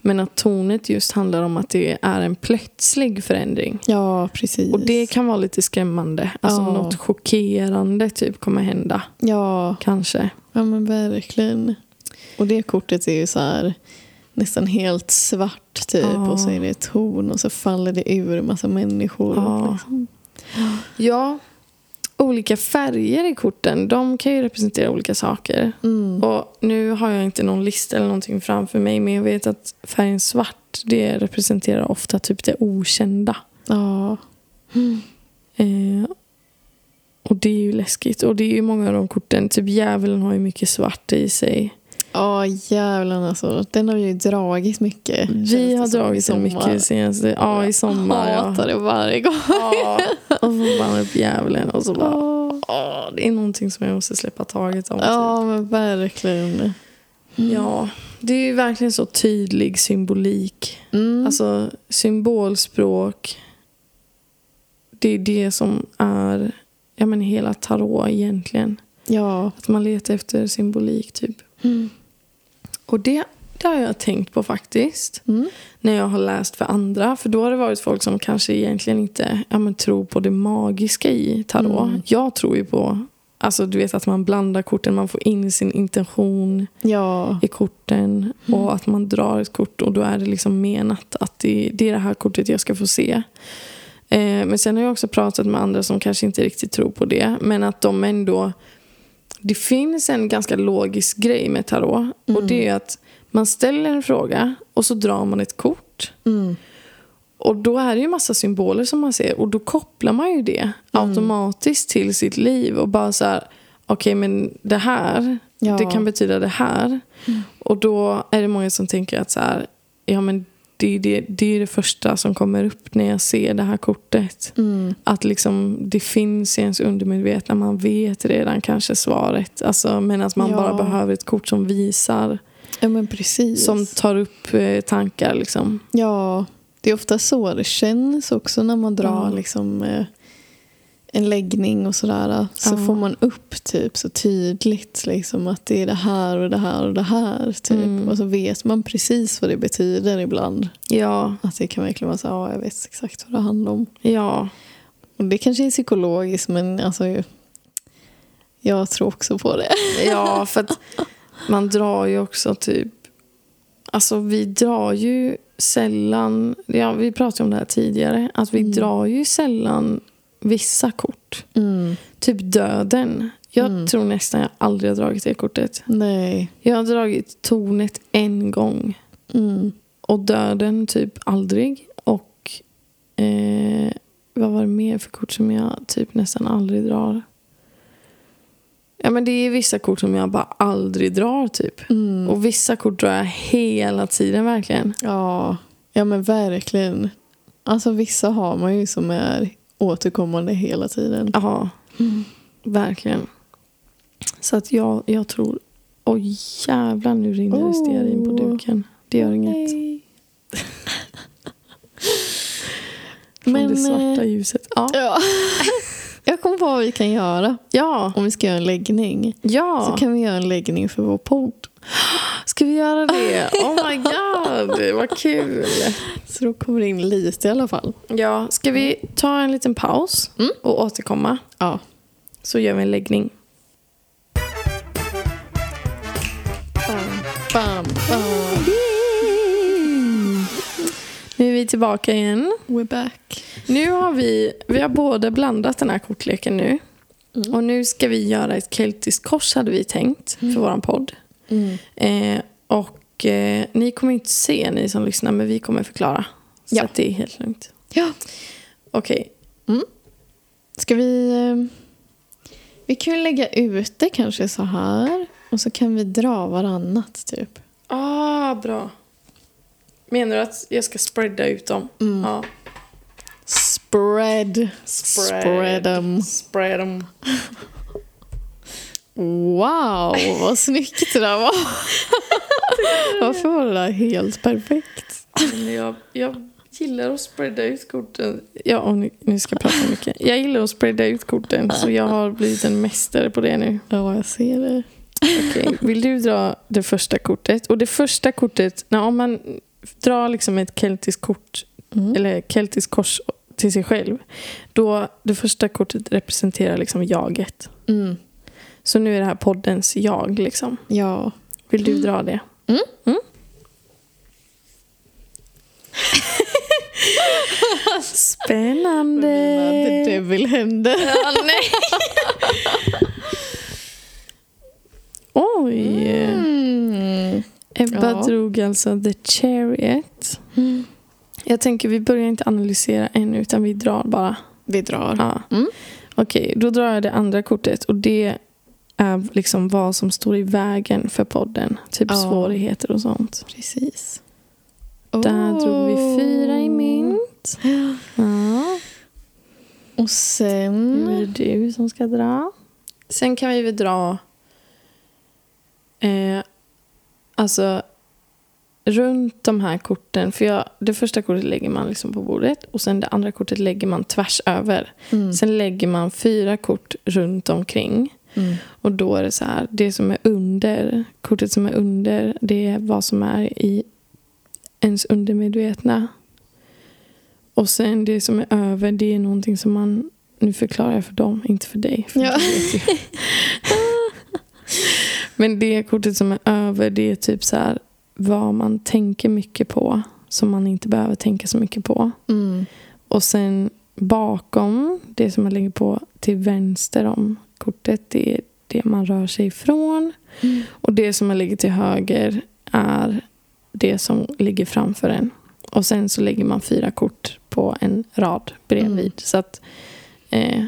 Speaker 2: Men att tornet just handlar om att det är en plötslig förändring.
Speaker 1: Ja, precis.
Speaker 2: Och det kan vara lite skrämmande. Alltså
Speaker 1: Ja.
Speaker 2: något chockerande typ kommer hända.
Speaker 1: Ja,
Speaker 2: Kanske.
Speaker 1: ja men verkligen. Och det kortet är ju så här nästan helt svart typ
Speaker 2: Ja.
Speaker 1: och så är det ett torn och så faller det ur en massa människor.
Speaker 2: Ja.
Speaker 1: Liksom.
Speaker 2: Ja, olika färger i korten, de kan ju representera olika saker.
Speaker 1: Mm.
Speaker 2: Och nu har jag inte någon lista eller någonting framför mig, men jag vet att färgen svart, det representerar ofta typ det okända.
Speaker 1: Ja.
Speaker 2: Eh, och det är ju läskigt. Och det är ju många av de korten, typ djävulen har ju mycket svart i sig.
Speaker 1: Ja, jävlar alltså. Den har ju dragit mycket. känns
Speaker 2: Vi
Speaker 1: det
Speaker 2: har
Speaker 1: som, i
Speaker 2: dragit den
Speaker 1: sommar.
Speaker 2: mycket senaste, ja i sommar
Speaker 1: Jag
Speaker 2: ja.
Speaker 1: hatar det varje gång.
Speaker 2: ja. Och så bara upp djävulen och så bara,
Speaker 1: Ja,
Speaker 2: åh, det är någonting som jag måste släppa taget om. typ.
Speaker 1: ja men verkligen. Mm.
Speaker 2: Ja, det är ju verkligen så tydlig symbolik.
Speaker 1: Mm.
Speaker 2: Alltså symbolspråk. Det är det som är ja, men hela tarot egentligen.
Speaker 1: ja. Mm.
Speaker 2: Att man letar efter symbolik typ. Och det, det har jag tänkt på faktiskt.
Speaker 1: Mm.
Speaker 2: När jag har läst för andra. För då har det varit folk som kanske egentligen inte ja, men, tror på det magiska i tarot.
Speaker 1: Mm.
Speaker 2: Jag tror ju på Alltså du vet att man blandar korten, man får in sin intention
Speaker 1: Ja.
Speaker 2: i korten och att man drar ett kort och då är det liksom menat att det, det är det här kortet jag ska få se. Eh, men sen har jag också pratat med andra som kanske inte riktigt tror på det men att de ändå... Det finns en ganska logisk grej med tarot och det är att man ställer en fråga och så drar man ett kort.
Speaker 1: Mm.
Speaker 2: Och då är det ju massa symboler som man ser och då kopplar man ju det automatiskt till sitt liv och bara så här, okej men det här,
Speaker 1: Ja.
Speaker 2: det kan betyda det här. Och då är det många som tänker att så här, ja men det är det, det är det första som kommer upp när jag ser det här kortet.
Speaker 1: Mm.
Speaker 2: Att liksom det finns i ens undermedvetna, man vet redan kanske svaret. Alltså, men att man
Speaker 1: Ja.
Speaker 2: bara behöver ett kort som visar,
Speaker 1: ja, men precis.
Speaker 2: som tar upp eh, tankar liksom.
Speaker 1: Ja, det är ofta så det känns också när man drar
Speaker 2: Ja.
Speaker 1: liksom, eh, en läggning och sådär så
Speaker 2: Ja.
Speaker 1: får man upp typ så tydligt liksom att det är det här och det här och det här. Typ.
Speaker 2: Mm.
Speaker 1: Och så vet man precis vad det betyder ibland.
Speaker 2: Ja,
Speaker 1: Att det kan verkligen vara så ja jag vet exakt vad det handlar om.
Speaker 2: ja.
Speaker 1: Och det kanske är psykologiskt men alltså ju- jag tror också på det.
Speaker 2: Ja, för att man drar ju också typ... Alltså vi drar ju sällan... Ja, vi pratade om det här tidigare. Att vi
Speaker 1: Mm.
Speaker 2: drar ju sällan vissa kort. Typ döden. Jag
Speaker 1: Mm.
Speaker 2: tror nästan jag aldrig har dragit det kortet.
Speaker 1: Nej.
Speaker 2: Jag har dragit tornet en gång.
Speaker 1: Mm.
Speaker 2: Och döden typ aldrig. Och eh, vad var det mer för kort som jag typ nästan aldrig drar? Ja men det är vissa kort som jag bara aldrig drar typ.
Speaker 1: Mm.
Speaker 2: Och vissa kort drar jag hela tiden verkligen.
Speaker 1: Ja. ja men verkligen. Alltså vissa har man ju som är återkommande hela tiden.
Speaker 2: Ja, mm, verkligen. Så att jag, jag tror... Oj jävlar nu rinner det
Speaker 1: Oh.
Speaker 2: stearin på duken. Det gör inget. Från
Speaker 1: Men,
Speaker 2: det svarta
Speaker 1: eh,
Speaker 2: ljuset. Ja,
Speaker 1: Ja. Jag kom på vad vi kan göra
Speaker 2: ja.
Speaker 1: om vi ska göra en läggning. Så
Speaker 2: ja.
Speaker 1: kan vi göra en läggning för vår podd.
Speaker 2: Ska vi göra det? Oh my god, vad kul.
Speaker 1: Så då kommer det in lite i alla fall.
Speaker 2: Ja, ska vi ta en liten paus
Speaker 1: Mm.
Speaker 2: och återkomma?
Speaker 1: Ja.
Speaker 2: Så gör vi en läggning.
Speaker 1: Bam, bam, bam.
Speaker 2: Mm. Nu är vi tillbaka igen.
Speaker 1: We're back.
Speaker 2: Nu har vi, vi har båda blandat den här kortleken nu.
Speaker 1: Mm.
Speaker 2: Och nu ska vi göra ett keltiskt kors hade vi tänkt för våran podd.
Speaker 1: Mm.
Speaker 2: Eh, och eh, ni kommer inte se ni som lyssnar men vi kommer förklara. Så
Speaker 1: Ja.
Speaker 2: att det är helt lugnt.
Speaker 1: Ja.
Speaker 2: Okej,
Speaker 1: Ska vi... eh, Vi kan ju lägga ut det kanske så här. Och så kan vi dra varannat typ.
Speaker 2: Ah, bra. Menar du att jag ska spreada ut dem?
Speaker 1: Mm.
Speaker 2: Ja.
Speaker 1: Spread. Spread 'em.
Speaker 2: Spread dem.
Speaker 1: Wow, vad snyggt det där var. Varför var det där helt perfekt?
Speaker 2: Jag, jag gillar att spreada ut korten. Ja, och nu, nu ska jag prata mycket. Jag gillar att spreada ut korten, så jag har blivit en mästare på det nu.
Speaker 1: Ja, jag ser det.
Speaker 2: Okej, Vill du dra det första kortet? Och det första kortet, när om man drar liksom ett keltiskt kort,
Speaker 1: Mm.
Speaker 2: eller keltiskt kors till sig själv, då det första kortet representerar liksom jaget.
Speaker 1: Mm.
Speaker 2: Så nu är det här poddens jag liksom.
Speaker 1: Ja.
Speaker 2: Vill du dra det?
Speaker 1: Mm.
Speaker 2: Spännande.
Speaker 1: Mina The Devil händer.
Speaker 2: Ja, nej. Oj.
Speaker 1: Mm.
Speaker 2: Ebba
Speaker 1: Ja.
Speaker 2: drog alltså The Chariot.
Speaker 1: Mm.
Speaker 2: Jag tänker vi börjar inte analysera än utan vi drar bara.
Speaker 1: Vi drar.
Speaker 2: Ja.
Speaker 1: Mm.
Speaker 2: Okej, då drar jag det andra kortet och det är liksom vad som står i vägen för podden. Typ
Speaker 1: Ja.
Speaker 2: svårigheter och sånt.
Speaker 1: Precis.
Speaker 2: Där drog vi fyra i
Speaker 1: Oh.
Speaker 2: mynt. Ja.
Speaker 1: Och
Speaker 2: Nu är
Speaker 1: sen...
Speaker 2: det du som ska dra. Mm. Sen kan vi väl dra... Eh, alltså, runt de här korten. För jag, Det första kortet lägger man liksom på bordet och sen det andra kortet lägger man tvärs över.
Speaker 1: Mm.
Speaker 2: Sen lägger man fyra kort runt omkring.
Speaker 1: Mm.
Speaker 2: Och då är det så här, det som är under, kortet som är under, det är vad som är i ens undermedvetna. Och sen det som är över, det är någonting som man, nu förklarar jag för dem, inte för dig. För
Speaker 1: Ja.
Speaker 2: du vet ju. Men det kortet som är över, det är typ så här vad man tänker mycket på, som man inte behöver tänka så mycket på.
Speaker 1: Mm.
Speaker 2: Och sen bakom, det som man lägger på till vänster om kortet, det är det man rör sig ifrån.
Speaker 1: Mm.
Speaker 2: Och det som man lägger till höger är det som ligger framför en. Och sen så lägger man fyra kort på en rad bredvid.
Speaker 1: Mm.
Speaker 2: Så att eh,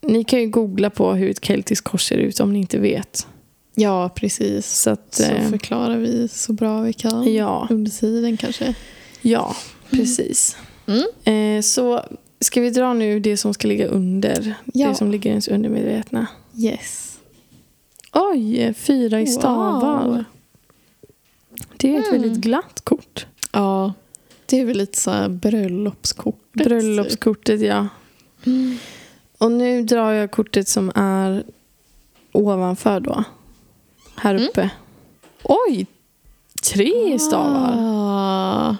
Speaker 2: ni kan ju googla på hur ett keltiskt kors ser ut om ni inte vet.
Speaker 1: Ja, precis.
Speaker 2: Så att,
Speaker 1: Så
Speaker 2: eh,
Speaker 1: förklarar vi så bra vi kan.
Speaker 2: ja,
Speaker 1: Under tiden kanske.
Speaker 2: ja, precis.
Speaker 1: Mm.
Speaker 2: Eh, så ska vi dra nu det som ska ligga under?
Speaker 1: Ja.
Speaker 2: Det som ligger i ens undermedvetna.
Speaker 1: Yes.
Speaker 2: Oj, fyra i
Speaker 1: Wow.
Speaker 2: stavar. Det är ett
Speaker 1: Mm.
Speaker 2: väldigt glatt kort.
Speaker 1: Ja. Det är väl lite så här bröllopskortet. typ.
Speaker 2: Bröllopskortet, ja.
Speaker 1: Mm.
Speaker 2: Och nu drar jag kortet som är ovanför då. Här
Speaker 1: Mm.
Speaker 2: uppe. Oj! Tre stavar.
Speaker 1: Ah.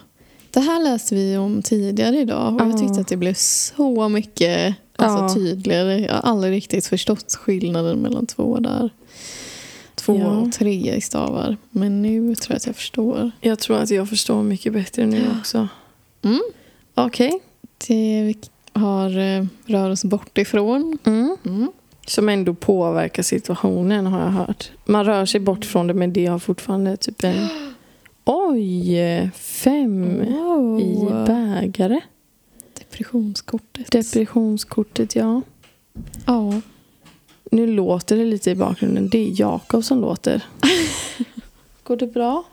Speaker 1: Det här läste vi om tidigare idag och jag tyckte
Speaker 2: Ja.
Speaker 1: att det blev så mycket alltså,
Speaker 2: Ah. Ja.
Speaker 1: tydligare. Jag har aldrig riktigt förstått skillnaden mellan två där. Två
Speaker 2: Ja.
Speaker 1: och tre i stavar. Men nu tror jag att jag förstår.
Speaker 2: Jag tror att jag förstår mycket bättre nu också.
Speaker 1: Mm.
Speaker 2: Okej.
Speaker 1: Det vi har eh, rör oss bort ifrån.
Speaker 2: Mm. Som ändå påverkar situationen har jag hört. Man rör sig bort från det men det har fortfarande typ en... Oj! Fem
Speaker 1: Wow.
Speaker 2: i bägare.
Speaker 1: Depressionskortet.
Speaker 2: Depressionskortet ja.
Speaker 1: ja.
Speaker 2: Nu låter det lite i bakgrunden. Det är Jakob som låter. Går det bra?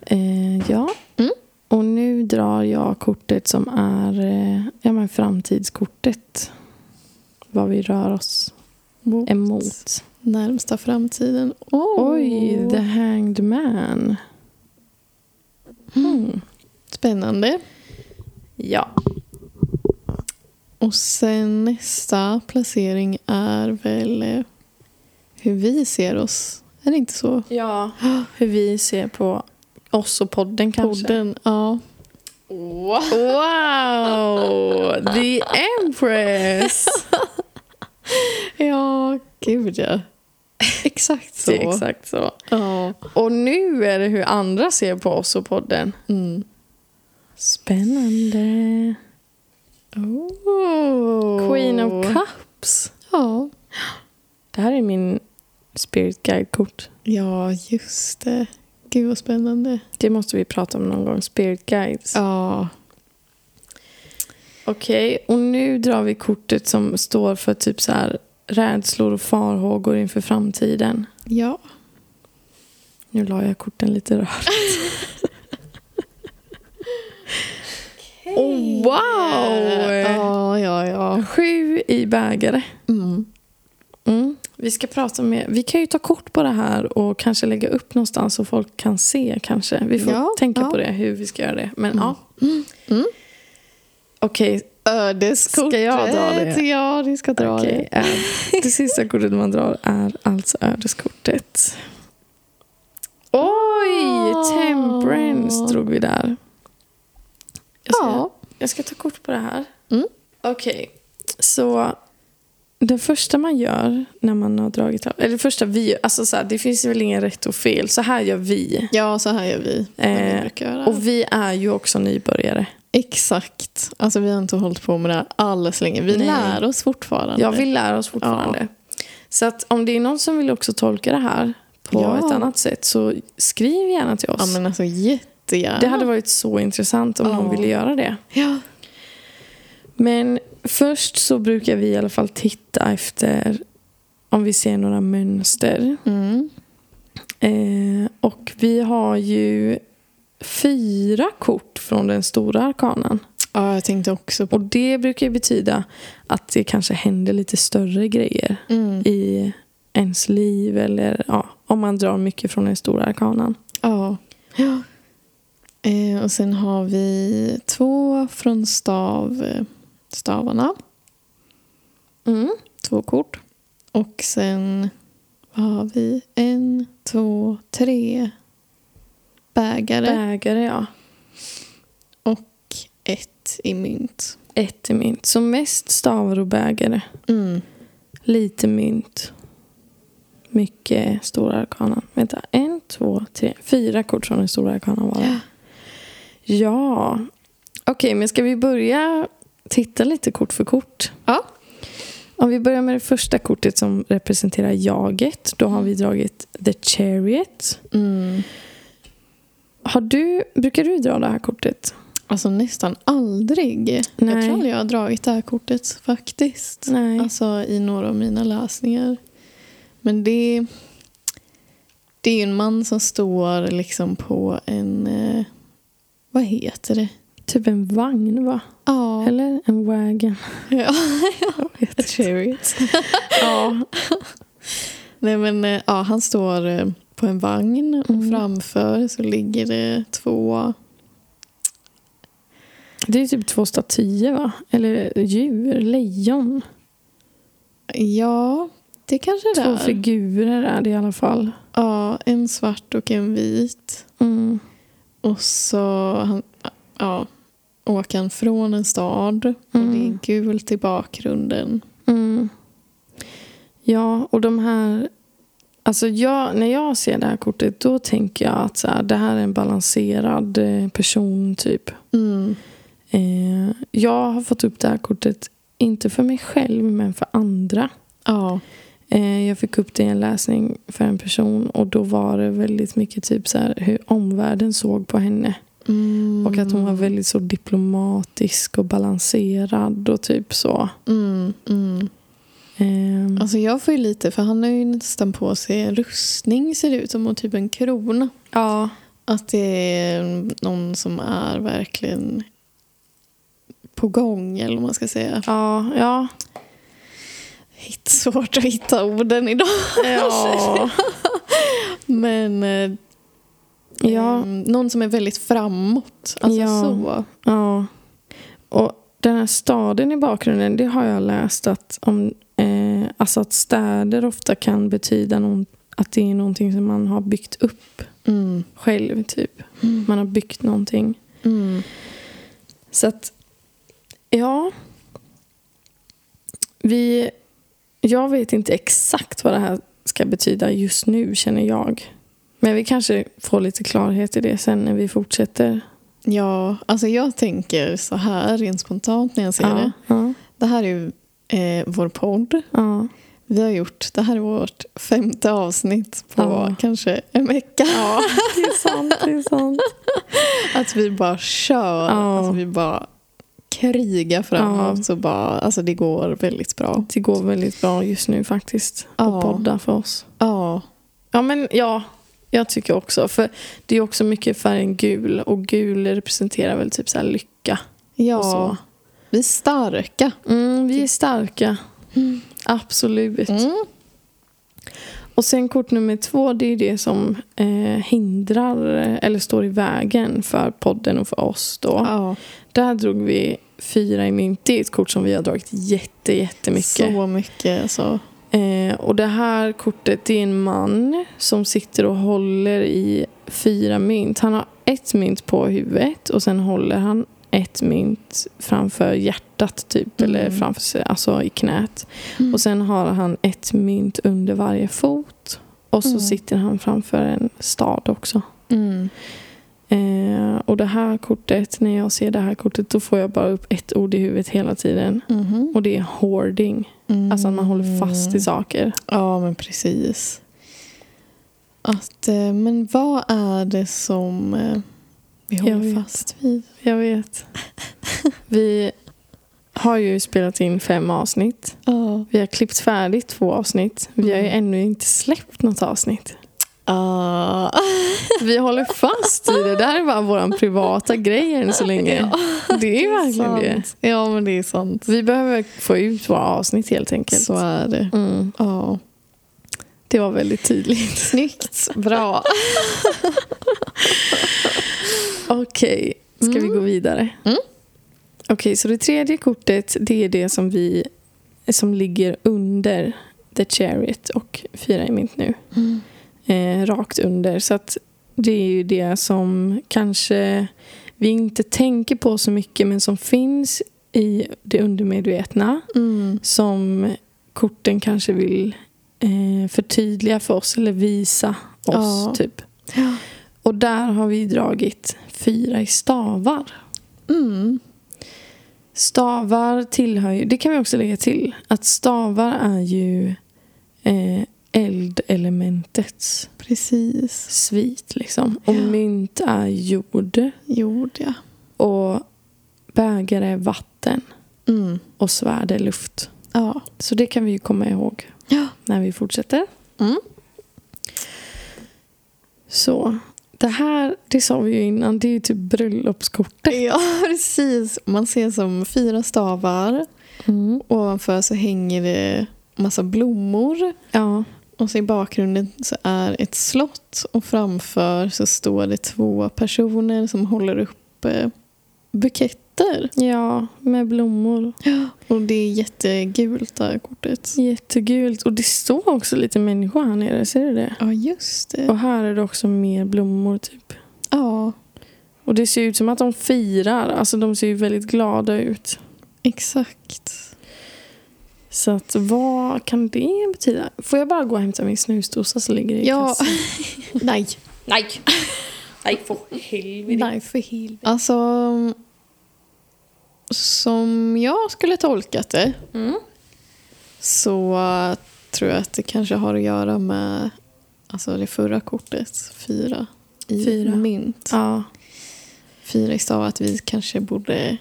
Speaker 2: Eh, ja.
Speaker 1: Mm.
Speaker 2: Och nu drar jag kortet som är eh, ja, men framtidskortet. Vad vi rör oss
Speaker 1: Mot
Speaker 2: emot.
Speaker 1: Närmsta framtiden. Oh.
Speaker 2: Oj, the hanged man. Mm.
Speaker 1: Spännande.
Speaker 2: Ja.
Speaker 1: Och sen nästa placering är väl eh, hur vi ser oss. Är det inte så?
Speaker 2: ja, hur vi ser på oss och podden kanske.
Speaker 1: Podden, ja.
Speaker 2: Wow, the empress.
Speaker 1: Ja, gud ja. Exakt så.
Speaker 2: Det är exakt så.
Speaker 1: Ja.
Speaker 2: Och nu är det hur andra ser på oss och podden.
Speaker 1: Mm.
Speaker 2: Spännande.
Speaker 1: Oh.
Speaker 2: Queen of Cups.
Speaker 1: Ja.
Speaker 2: Det här är min spirit guide-kort.
Speaker 1: ja, just det. Gud vad spännande.
Speaker 2: Det måste vi prata om någon gång. Spirit guides.
Speaker 1: Ja.
Speaker 2: Okej, och nu drar vi kortet som står för typ så här rädslor och farhågor inför framtiden.
Speaker 1: Ja.
Speaker 2: Nu la jag korten lite rörigt. oh, wow!
Speaker 1: Ja, ja, ja.
Speaker 2: Sju i bägare.
Speaker 1: Mm.
Speaker 2: Mm. Vi ska prata med... Vi kan ju ta kort på det här och kanske lägga upp någonstans så folk kan se kanske. Vi får
Speaker 1: Ja,
Speaker 2: tänka
Speaker 1: ja.
Speaker 2: på det, hur vi ska göra det. Men ja.
Speaker 1: Mm. Äh,
Speaker 2: Okej,
Speaker 1: Ödeskortet.
Speaker 2: Ska jag dra det?
Speaker 1: Ja, du ska dra
Speaker 2: okej,
Speaker 1: det.
Speaker 2: eh, det sista kortet man drar är alltså ödeskortet. Oj!
Speaker 1: Ah.
Speaker 2: Temperance drog vi där. Jag ska,
Speaker 1: Ja.
Speaker 2: jag ska ta kort på det här.
Speaker 1: Mm.
Speaker 2: Okej, så det första man gör när man har dragit av, eller det första vi gör, alltså så här, det finns väl ingen rätt och fel, så här gör vi.
Speaker 1: Ja, så här gör vi. vad vi
Speaker 2: Eh,
Speaker 1: brukar göra.
Speaker 2: Och vi är ju också nybörjare.
Speaker 1: Exakt. Alltså vi har inte hållit på med det här alls länge. Vi
Speaker 2: Nej.
Speaker 1: lär oss fortfarande.
Speaker 2: Ja, vi lär oss fortfarande. Så att om det är någon som vill också tolka det här på
Speaker 1: Ja.
Speaker 2: ett annat sätt så skriv gärna till oss.
Speaker 1: Ja, men alltså jättegärna.
Speaker 2: Det hade varit så intressant om
Speaker 1: Ja.
Speaker 2: någon ville göra det.
Speaker 1: Ja.
Speaker 2: Men först så brukar vi i alla fall titta efter om vi ser några mönster.
Speaker 1: Mm.
Speaker 2: Eh, och vi har ju fyra kort från den stora arkanan.
Speaker 1: ja, jag tänkte också på
Speaker 2: Och det brukar ju betyda att det kanske händer lite större grejer
Speaker 1: mm.
Speaker 2: i ens liv eller ja, om man drar mycket från den stora arkanan.
Speaker 1: Ja. ja. Eh, och sen har vi två från stav, eh, stavarna. Två kort. Och sen vad har vi? En, två, tre bägare.
Speaker 2: Bägare, ja.
Speaker 1: och ett i mynt.
Speaker 2: Ett i mynt. Så mest stavar och bägare.
Speaker 1: Mm.
Speaker 2: Lite mynt. Mycket stora arkanan. Vänta, en, två, tre, fyra kort från den stora arkanan var det. Ja. Okej, men ska vi börja titta lite kort för kort?
Speaker 1: Ja.
Speaker 2: Om vi börjar med det första kortet som representerar jaget. Då har vi dragit The Chariot.
Speaker 1: Mm.
Speaker 2: Har du, brukar du dra det här kortet?
Speaker 1: Alltså nästan aldrig. Jag
Speaker 2: Nej.
Speaker 1: tror aldrig jag har dragit det här kortet faktiskt.
Speaker 2: Nej.
Speaker 1: Alltså i några av mina läsningar. Men det, det är ju en man som står liksom på en... Eh, vad heter det?
Speaker 2: Typ en vagn va?
Speaker 1: Ja.
Speaker 2: Eller en wagon.
Speaker 1: ja.
Speaker 2: Jag vet inte.
Speaker 1: Chariot. ja. Nej men eh, ja, han står eh, på en vagn och
Speaker 2: Mm.
Speaker 1: framför så ligger det två...
Speaker 2: Det är typ två statyer va? Eller djur, lejon.
Speaker 1: ja, det kanske det
Speaker 2: Två
Speaker 1: är.
Speaker 2: figurer är det i alla fall.
Speaker 1: Ja, en svart och en vit.
Speaker 2: Mm.
Speaker 1: Och så han, ja, åker han från en stad och det
Speaker 2: Mm.
Speaker 1: är gult i bakgrunden.
Speaker 2: Mm. Ja, och de här... Alltså jag, när jag ser det här kortet då tänker jag att så här, det här är en balanserad eh, person typ.
Speaker 1: Mm.
Speaker 2: Eh, jag har fått upp det här kortet, inte för mig själv men för andra.
Speaker 1: Ja.
Speaker 2: Eh, jag fick upp det i en läsning för en person och då var det väldigt mycket typ så här, hur omvärlden såg på henne.
Speaker 1: Mm.
Speaker 2: Och att hon var väldigt så diplomatisk och balanserad och typ så.
Speaker 1: Mm, mm.
Speaker 2: Ehm,
Speaker 1: Alltså jag får ju lite, för han har ju nästan på sig en rustning ser det ut som, och typ en krona.
Speaker 2: ja.
Speaker 1: Att det är någon som är verkligen på gång eller vad man ska säga.
Speaker 2: Ja, ja.
Speaker 1: Hitt, svårt att hitta orden idag.
Speaker 2: Ja.
Speaker 1: Men eh,
Speaker 2: ja.
Speaker 1: ehm, någon som är väldigt framåt. Alltså
Speaker 2: Ja.
Speaker 1: så.
Speaker 2: ja. Och den här staden i bakgrunden, det har jag läst att, om, eh, alltså att städer ofta kan betyda någon, att det är någonting som man har byggt upp
Speaker 1: Mm.
Speaker 2: själv. typ.
Speaker 1: Mm.
Speaker 2: Man har byggt någonting.
Speaker 1: Mm.
Speaker 2: Så att, ja. Vi, jag vet inte exakt vad det här ska betyda just nu känner jag. Men vi kanske får lite klarhet i det sen när vi fortsätter.
Speaker 1: Ja, alltså jag tänker så här rent spontant när jag ser det.
Speaker 2: ja,
Speaker 1: Det här är ju eh, vår podd.
Speaker 2: ja.
Speaker 1: Vi har gjort, det här är vårt femte avsnitt på
Speaker 2: Ja.
Speaker 1: kanske en vecka.
Speaker 2: Ja, det är sant. Det är sant.
Speaker 1: Att vi bara kör.
Speaker 2: Ja.
Speaker 1: Alltså vi bara krigar framåt.
Speaker 2: Ja.
Speaker 1: Så bara, alltså det går väldigt bra.
Speaker 2: Det går väldigt bra just nu faktiskt. Att
Speaker 1: Ja.
Speaker 2: podda för oss.
Speaker 1: Ja.
Speaker 2: Ja, men ja. Jag tycker också. För det är också mycket färgen gul. Och gul representerar väl typ så här lycka. Och
Speaker 1: ja.
Speaker 2: så.
Speaker 1: Vi är starka.
Speaker 2: Mm, vi är starka. Mm. Absolut.
Speaker 1: Mm.
Speaker 2: Och sen kort nummer två, det är det som eh, hindrar eh, eller står i vägen för podden och för oss då.
Speaker 1: Ja.
Speaker 2: Där drog vi fyra i mynt. Det är ett kort som vi har dragit jätte, jättemycket.
Speaker 1: Så mycket. Alltså.
Speaker 2: Eh, och det här kortet det är en man som sitter och håller i fyra mynt. Han har ett mynt på huvudet och sen håller han ett mynt framför hjärtat typ
Speaker 1: Mm.
Speaker 2: eller framför sig, alltså i knät.
Speaker 1: Mm.
Speaker 2: Och sen har han ett mynt under varje fot och så
Speaker 1: Mm.
Speaker 2: sitter han framför en stad också.
Speaker 1: Mm.
Speaker 2: Eh, och det här kortet, när jag ser det här kortet då får jag bara upp ett ord i huvudet hela tiden
Speaker 1: Mhm.
Speaker 2: och det är hoarding.
Speaker 1: Mm.
Speaker 2: Alltså att man håller fast i saker.
Speaker 1: Ja, men precis. Att, eh, men vad är det som eh, vi
Speaker 2: Jag
Speaker 1: håller
Speaker 2: vet.
Speaker 1: fast vid?
Speaker 2: Jag vet. Vi har ju spelat in fem avsnitt.
Speaker 1: Ja.
Speaker 2: Vi har klippt färdigt två avsnitt. Vi har ju
Speaker 1: Mm.
Speaker 2: ännu inte släppt något avsnitt.
Speaker 1: Ah.
Speaker 2: Vi håller fast i det. Det här är bara vår privata grej än så länge. Det är verkligen det.
Speaker 1: sant. Ja, men det är sant.
Speaker 2: Vi behöver få ut våra avsnitt helt enkelt.
Speaker 1: Så är det.
Speaker 2: Mm.
Speaker 1: Ja.
Speaker 2: Det var väldigt tydligt.
Speaker 1: Snyggt. Bra.
Speaker 2: Okej, ska vi gå vidare?
Speaker 1: Mm.
Speaker 2: Okej, så det tredje kortet det är det som vi som ligger under The Chariot och Fyra i mynt nu.
Speaker 1: Mm.
Speaker 2: Eh, rakt under. Så att det är ju det som kanske vi inte tänker på så mycket men som finns i det undermedvetna.
Speaker 1: Mm.
Speaker 2: Som korten kanske vill eh, förtydliga för oss eller visa oss.
Speaker 1: Ja.
Speaker 2: typ.
Speaker 1: Ja.
Speaker 2: Och där har vi dragit fyra i stavar.
Speaker 1: Mm.
Speaker 2: Stavar tillhör ju, det kan vi också lägga till, att stavar är ju eh, eldelementets
Speaker 1: Precis.
Speaker 2: svit liksom. Och
Speaker 1: Ja.
Speaker 2: mynt är jord
Speaker 1: Jord, ja.
Speaker 2: och bägare är vatten
Speaker 1: Mm.
Speaker 2: och svärd är luft.
Speaker 1: Ja.
Speaker 2: Så det kan vi ju komma ihåg
Speaker 1: Ja.
Speaker 2: när vi fortsätter.
Speaker 1: Mm.
Speaker 2: Så det här, det sa vi ju innan, det är ju typ bröllopskortet.
Speaker 1: ja, precis. Man ser som fyra stavar. Mm. Ovanför så hänger det massa blommor.
Speaker 2: Ja.
Speaker 1: Och så i bakgrunden så är ett slott och framför så står det två personer som håller upp eh, buketter katter.
Speaker 2: Ja, med blommor.
Speaker 1: Och det är jättegult det här kortet.
Speaker 2: Jättegult. Och det står också lite människa här nere, ser du det?
Speaker 1: Ja, just det.
Speaker 2: Och här är det också mer blommor typ.
Speaker 1: Ja,
Speaker 2: Och det ser ut som att de firar. Alltså de ser ju väldigt glada ut.
Speaker 1: exakt.
Speaker 2: Så att vad kan det betyda? Får jag bara gå och hämta min snusdosa som ligger i
Speaker 1: Ja.
Speaker 2: kassan?
Speaker 1: Nej.
Speaker 2: Nej! Nej, för helvete.
Speaker 1: Nej, för helvete. Alltså, som jag skulle tolkat det
Speaker 2: Mm.
Speaker 1: så eh, tror jag att det kanske har att göra med alltså det förra kortet, fyra i
Speaker 2: Fyra.
Speaker 1: mynt.
Speaker 2: Ja.
Speaker 1: Fyra i stav att vi kanske borde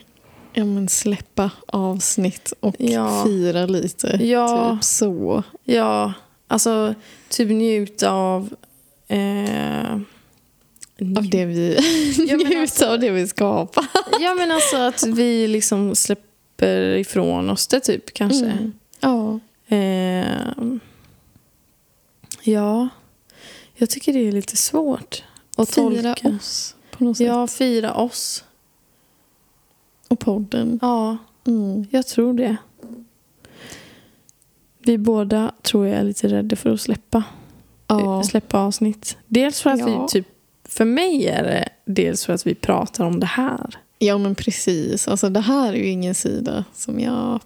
Speaker 1: ja, men släppa avsnitt och
Speaker 2: Ja.
Speaker 1: fira lite.
Speaker 2: Ja.
Speaker 1: Typ så.
Speaker 2: Ja, alltså typ njuta av... Eh,
Speaker 1: Av det vi
Speaker 2: Ja, men
Speaker 1: njuter
Speaker 2: alltså-
Speaker 1: av det vi skapar.
Speaker 2: Ja men alltså att vi liksom släpper ifrån oss det typ kanske.
Speaker 1: Mm. Ja.
Speaker 2: Eh, ja, jag tycker det är lite svårt att
Speaker 1: fira
Speaker 2: tolka.
Speaker 1: oss på något sätt.
Speaker 2: Ja, fira oss.
Speaker 1: Och podden.
Speaker 2: Ja,
Speaker 1: Mm.
Speaker 2: jag tror det. Vi båda tror jag är lite rädda för att släppa,
Speaker 1: Ja.
Speaker 2: släppa avsnitt. Dels för att
Speaker 1: Ja.
Speaker 2: vi typ, för mig är det dels för att vi pratar om det här.
Speaker 1: ja, men precis. Alltså, det här är ju ingen sida som jag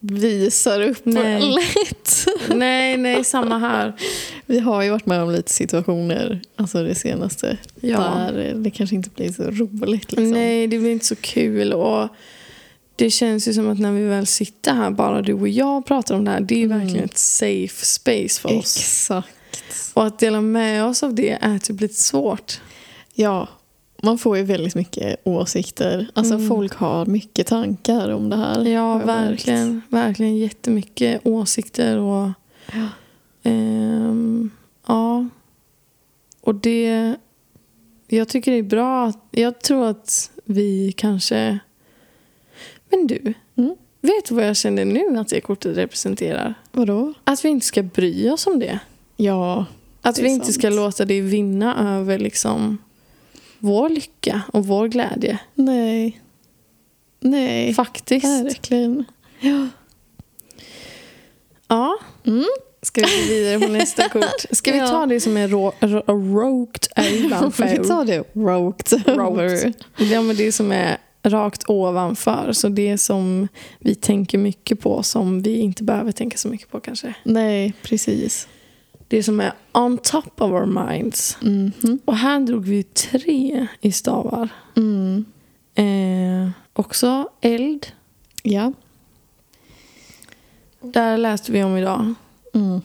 Speaker 1: visar upp
Speaker 2: Nej.
Speaker 1: lätt.
Speaker 2: nej, nej, samma här.
Speaker 1: Vi har ju varit med om lite situationer alltså det senaste
Speaker 2: Ja.
Speaker 1: där det kanske inte blir så roligt. Liksom.
Speaker 2: Nej, det blir inte så kul. Och det känns ju som att när vi väl sitter här, bara du och jag pratar om det här, det är ju
Speaker 1: Mm.
Speaker 2: verkligen ett safe space för oss.
Speaker 1: Exakt.
Speaker 2: Och att dela med oss av det är typ lite svårt.
Speaker 1: Ja, man får ju väldigt mycket åsikter. Alltså
Speaker 2: Mm.
Speaker 1: folk har mycket tankar om det här.
Speaker 2: Ja,
Speaker 1: har jag märkt.
Speaker 2: verkligen. Verkligen jättemycket åsikter och...
Speaker 1: Ja.
Speaker 2: ehm, ja. Och det... Jag tycker det är bra. att- Jag tror att vi kanske... Men du,
Speaker 1: Mm.
Speaker 2: vet du vad jag känner nu att det kortet representerar?
Speaker 1: Vadå?
Speaker 2: Att vi inte ska bry oss om det.
Speaker 1: Ja,
Speaker 2: Att
Speaker 1: Det är
Speaker 2: vi inte
Speaker 1: sant.
Speaker 2: ska låta det vinna över liksom vår lycka och vår glädje.
Speaker 1: nej. Nej,
Speaker 2: Faktiskt.
Speaker 1: verkligen. Ja.
Speaker 2: Ja.
Speaker 1: Mm.
Speaker 2: Ska vi gå vidare på nästa kort? Ska vi
Speaker 1: Ja.
Speaker 2: ta det som är ro- ro- roked
Speaker 1: Vi
Speaker 2: ovanför?
Speaker 1: tar det roked over.
Speaker 2: ja, men det som är rakt ovanför. Så det som vi tänker mycket på som vi inte behöver tänka så mycket på kanske.
Speaker 1: Nej, precis.
Speaker 2: Det som är on top of our minds.
Speaker 1: Mhm.
Speaker 2: Och här drog vi ju tre i stavar.
Speaker 1: Mm.
Speaker 2: Eh, också eld.
Speaker 1: Ja.
Speaker 2: Där läste vi om idag.
Speaker 1: Mm.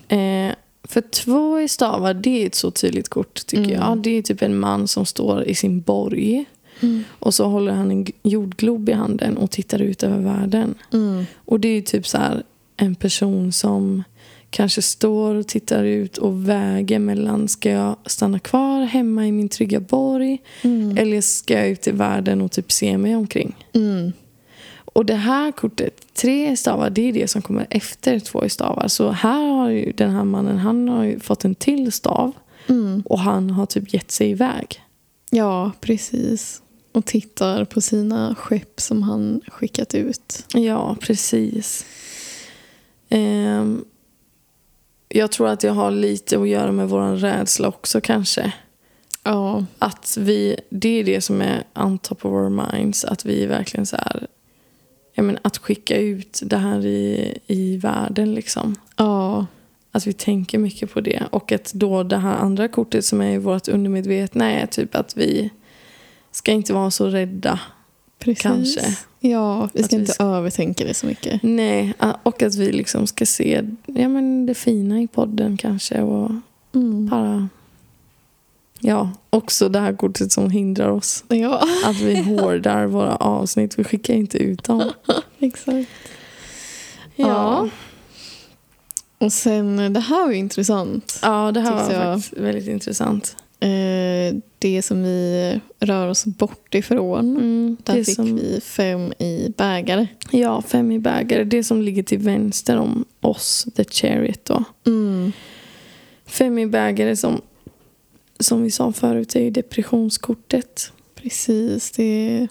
Speaker 2: Eh, för två i stavar, det är ett så tydligt kort tycker
Speaker 1: Mm.
Speaker 2: jag. Det är typ en man som står i sin borg
Speaker 1: Mm.
Speaker 2: och så håller han en g- jordglob i handen och tittar ut över världen.
Speaker 1: Mm.
Speaker 2: Och det är ju typ så här en person som kanske står och tittar ut och väger mellan ska jag stanna kvar hemma i min trygga borg
Speaker 1: Mm.
Speaker 2: eller ska jag ut i världen och typ se mig omkring.
Speaker 1: Mm.
Speaker 2: Och det här kortet, tre stavar, det är det som kommer efter två stavar. Så här har ju den här mannen, han har ju fått en till stav
Speaker 1: Mm.
Speaker 2: och han har typ gett sig iväg.
Speaker 1: Ja, precis. Och tittar på sina skepp som han skickat ut.
Speaker 2: Ja, precis. Ehm, jag tror att det har lite att göra med vår rädsla också kanske.
Speaker 1: Ja.
Speaker 2: Att vi, det är det som är on top of our minds, att vi verkligen så här, jag menar, att skicka ut det här i, i världen liksom.
Speaker 1: Ja.
Speaker 2: Att vi tänker mycket på det. Och att då det här andra kortet som är i vårt undermedvetna är typ att vi ska inte vara så rädda.
Speaker 1: Precis.
Speaker 2: Kanske.
Speaker 1: Ja, vi
Speaker 2: Att vi
Speaker 1: ska inte
Speaker 2: ska-
Speaker 1: övertänka det så mycket.
Speaker 2: Nej, a- och att vi liksom ska se ja, men det fina i podden kanske. Och
Speaker 1: Mm.
Speaker 2: bara... Ja, också det här kortet som hindrar oss.
Speaker 1: Ja,
Speaker 2: Att vi hårdar våra avsnitt. Vi skickar inte ut dem.
Speaker 1: exakt. Ja. Och sen, det här var ju intressant.
Speaker 2: ja det här var
Speaker 1: Tyckte jag.
Speaker 2: faktiskt väldigt intressant.
Speaker 1: Eh, det som vi rör oss bort ifrån.
Speaker 2: Mm,
Speaker 1: Där
Speaker 2: det
Speaker 1: fick
Speaker 2: som-
Speaker 1: vi fem i bägare.
Speaker 2: Ja, fem i bägare. Det som ligger till vänster om oss, the chariot då. Mm. Fem i bägare som, som vi sa förut är ju depressionskortet.
Speaker 1: Precis, det är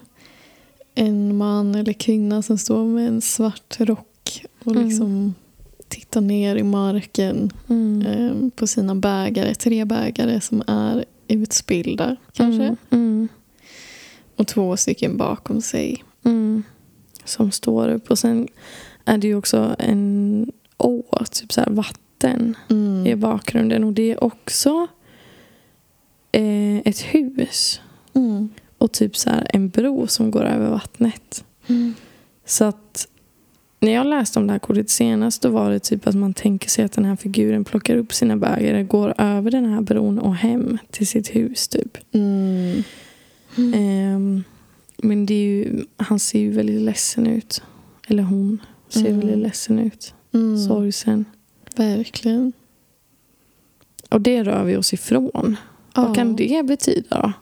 Speaker 1: en man eller kvinna som står med en svart rock och
Speaker 2: Mm.
Speaker 1: liksom tittar ner i marken
Speaker 2: Mm.
Speaker 1: eh, på sina bägare. Tre bägare som är utspillda kanske.
Speaker 2: Mm. Mm.
Speaker 1: Och två stycken bakom sig.
Speaker 2: Mm. Som står upp. Och sen är det ju också en å, typ så här vatten
Speaker 1: Mm.
Speaker 2: i bakgrunden. Och det är också eh, ett hus.
Speaker 1: Mm.
Speaker 2: Och typ så här en bro som går över vattnet.
Speaker 1: Mm.
Speaker 2: Så att när jag läste om det här kortet senast då var det typ att man tänker sig att den här figuren plockar upp sina bägare, går över den här bron och hem till sitt hus typ.
Speaker 1: Mm. Mm.
Speaker 2: Ehm, men det är ju, han ser ju väldigt ledsen ut. Eller hon ser
Speaker 1: Mm.
Speaker 2: väldigt ledsen ut.
Speaker 1: Mm.
Speaker 2: Sorgsen.
Speaker 1: Verkligen.
Speaker 2: Och det rör vi oss ifrån. Vad kan det betyda då?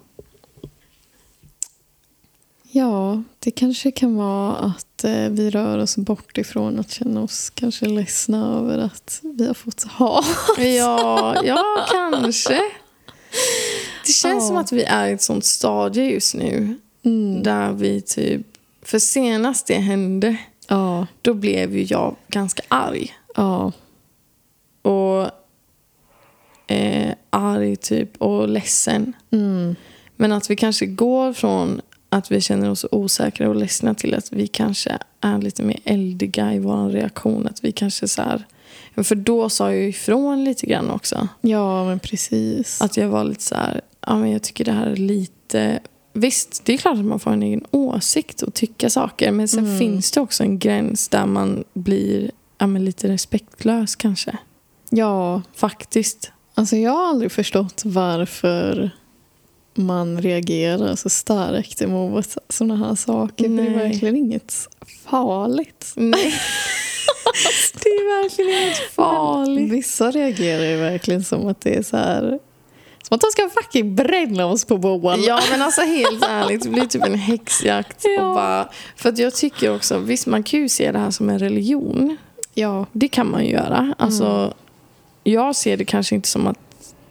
Speaker 1: Ja, det kanske kan vara att eh, vi rör oss bort ifrån att känna oss kanske ledsna över att vi har fått ha.
Speaker 2: Ja, ja kanske. Det känns
Speaker 1: Ja.
Speaker 2: som att vi är i ett sånt stadie just nu.
Speaker 1: Mm.
Speaker 2: Där vi typ... För senast det hände,
Speaker 1: Ja,
Speaker 2: då blev ju jag ganska arg.
Speaker 1: ja,
Speaker 2: Och eh, arg typ och ledsen.
Speaker 1: mm.
Speaker 2: Men att vi kanske går från att vi känner oss osäkra och ledsna till att vi kanske är lite mer eldiga i vår reaktion. Att vi kanske så här... För då sa jag ju ifrån lite grann också.
Speaker 1: ja, men precis.
Speaker 2: Att jag var lite så här, ja men jag tycker det här är lite... Visst, det är klart att man får en egen åsikt och tycka saker. Men sen
Speaker 1: Mm.
Speaker 2: finns det också en gräns där man blir ja, men lite respektlös kanske.
Speaker 1: Ja,
Speaker 2: Faktiskt.
Speaker 1: alltså jag har aldrig förstått varför man reagerar så starkt emot sådana här saker. För det
Speaker 2: Nej.
Speaker 1: är verkligen inget farligt.
Speaker 2: Nej. det är verkligen helt farligt.
Speaker 1: Vissa reagerar ju verkligen som att det är så här... Som att de ska fucking bränna oss på boan.
Speaker 2: Ja men alltså helt ärligt, det blir typ en häxjakt.
Speaker 1: Ja.
Speaker 2: Och bara, för att jag tycker också, visst man kan ju se det här som en religion.
Speaker 1: ja.
Speaker 2: Det kan man ju göra. Alltså,
Speaker 1: Mm.
Speaker 2: Jag ser det kanske inte som att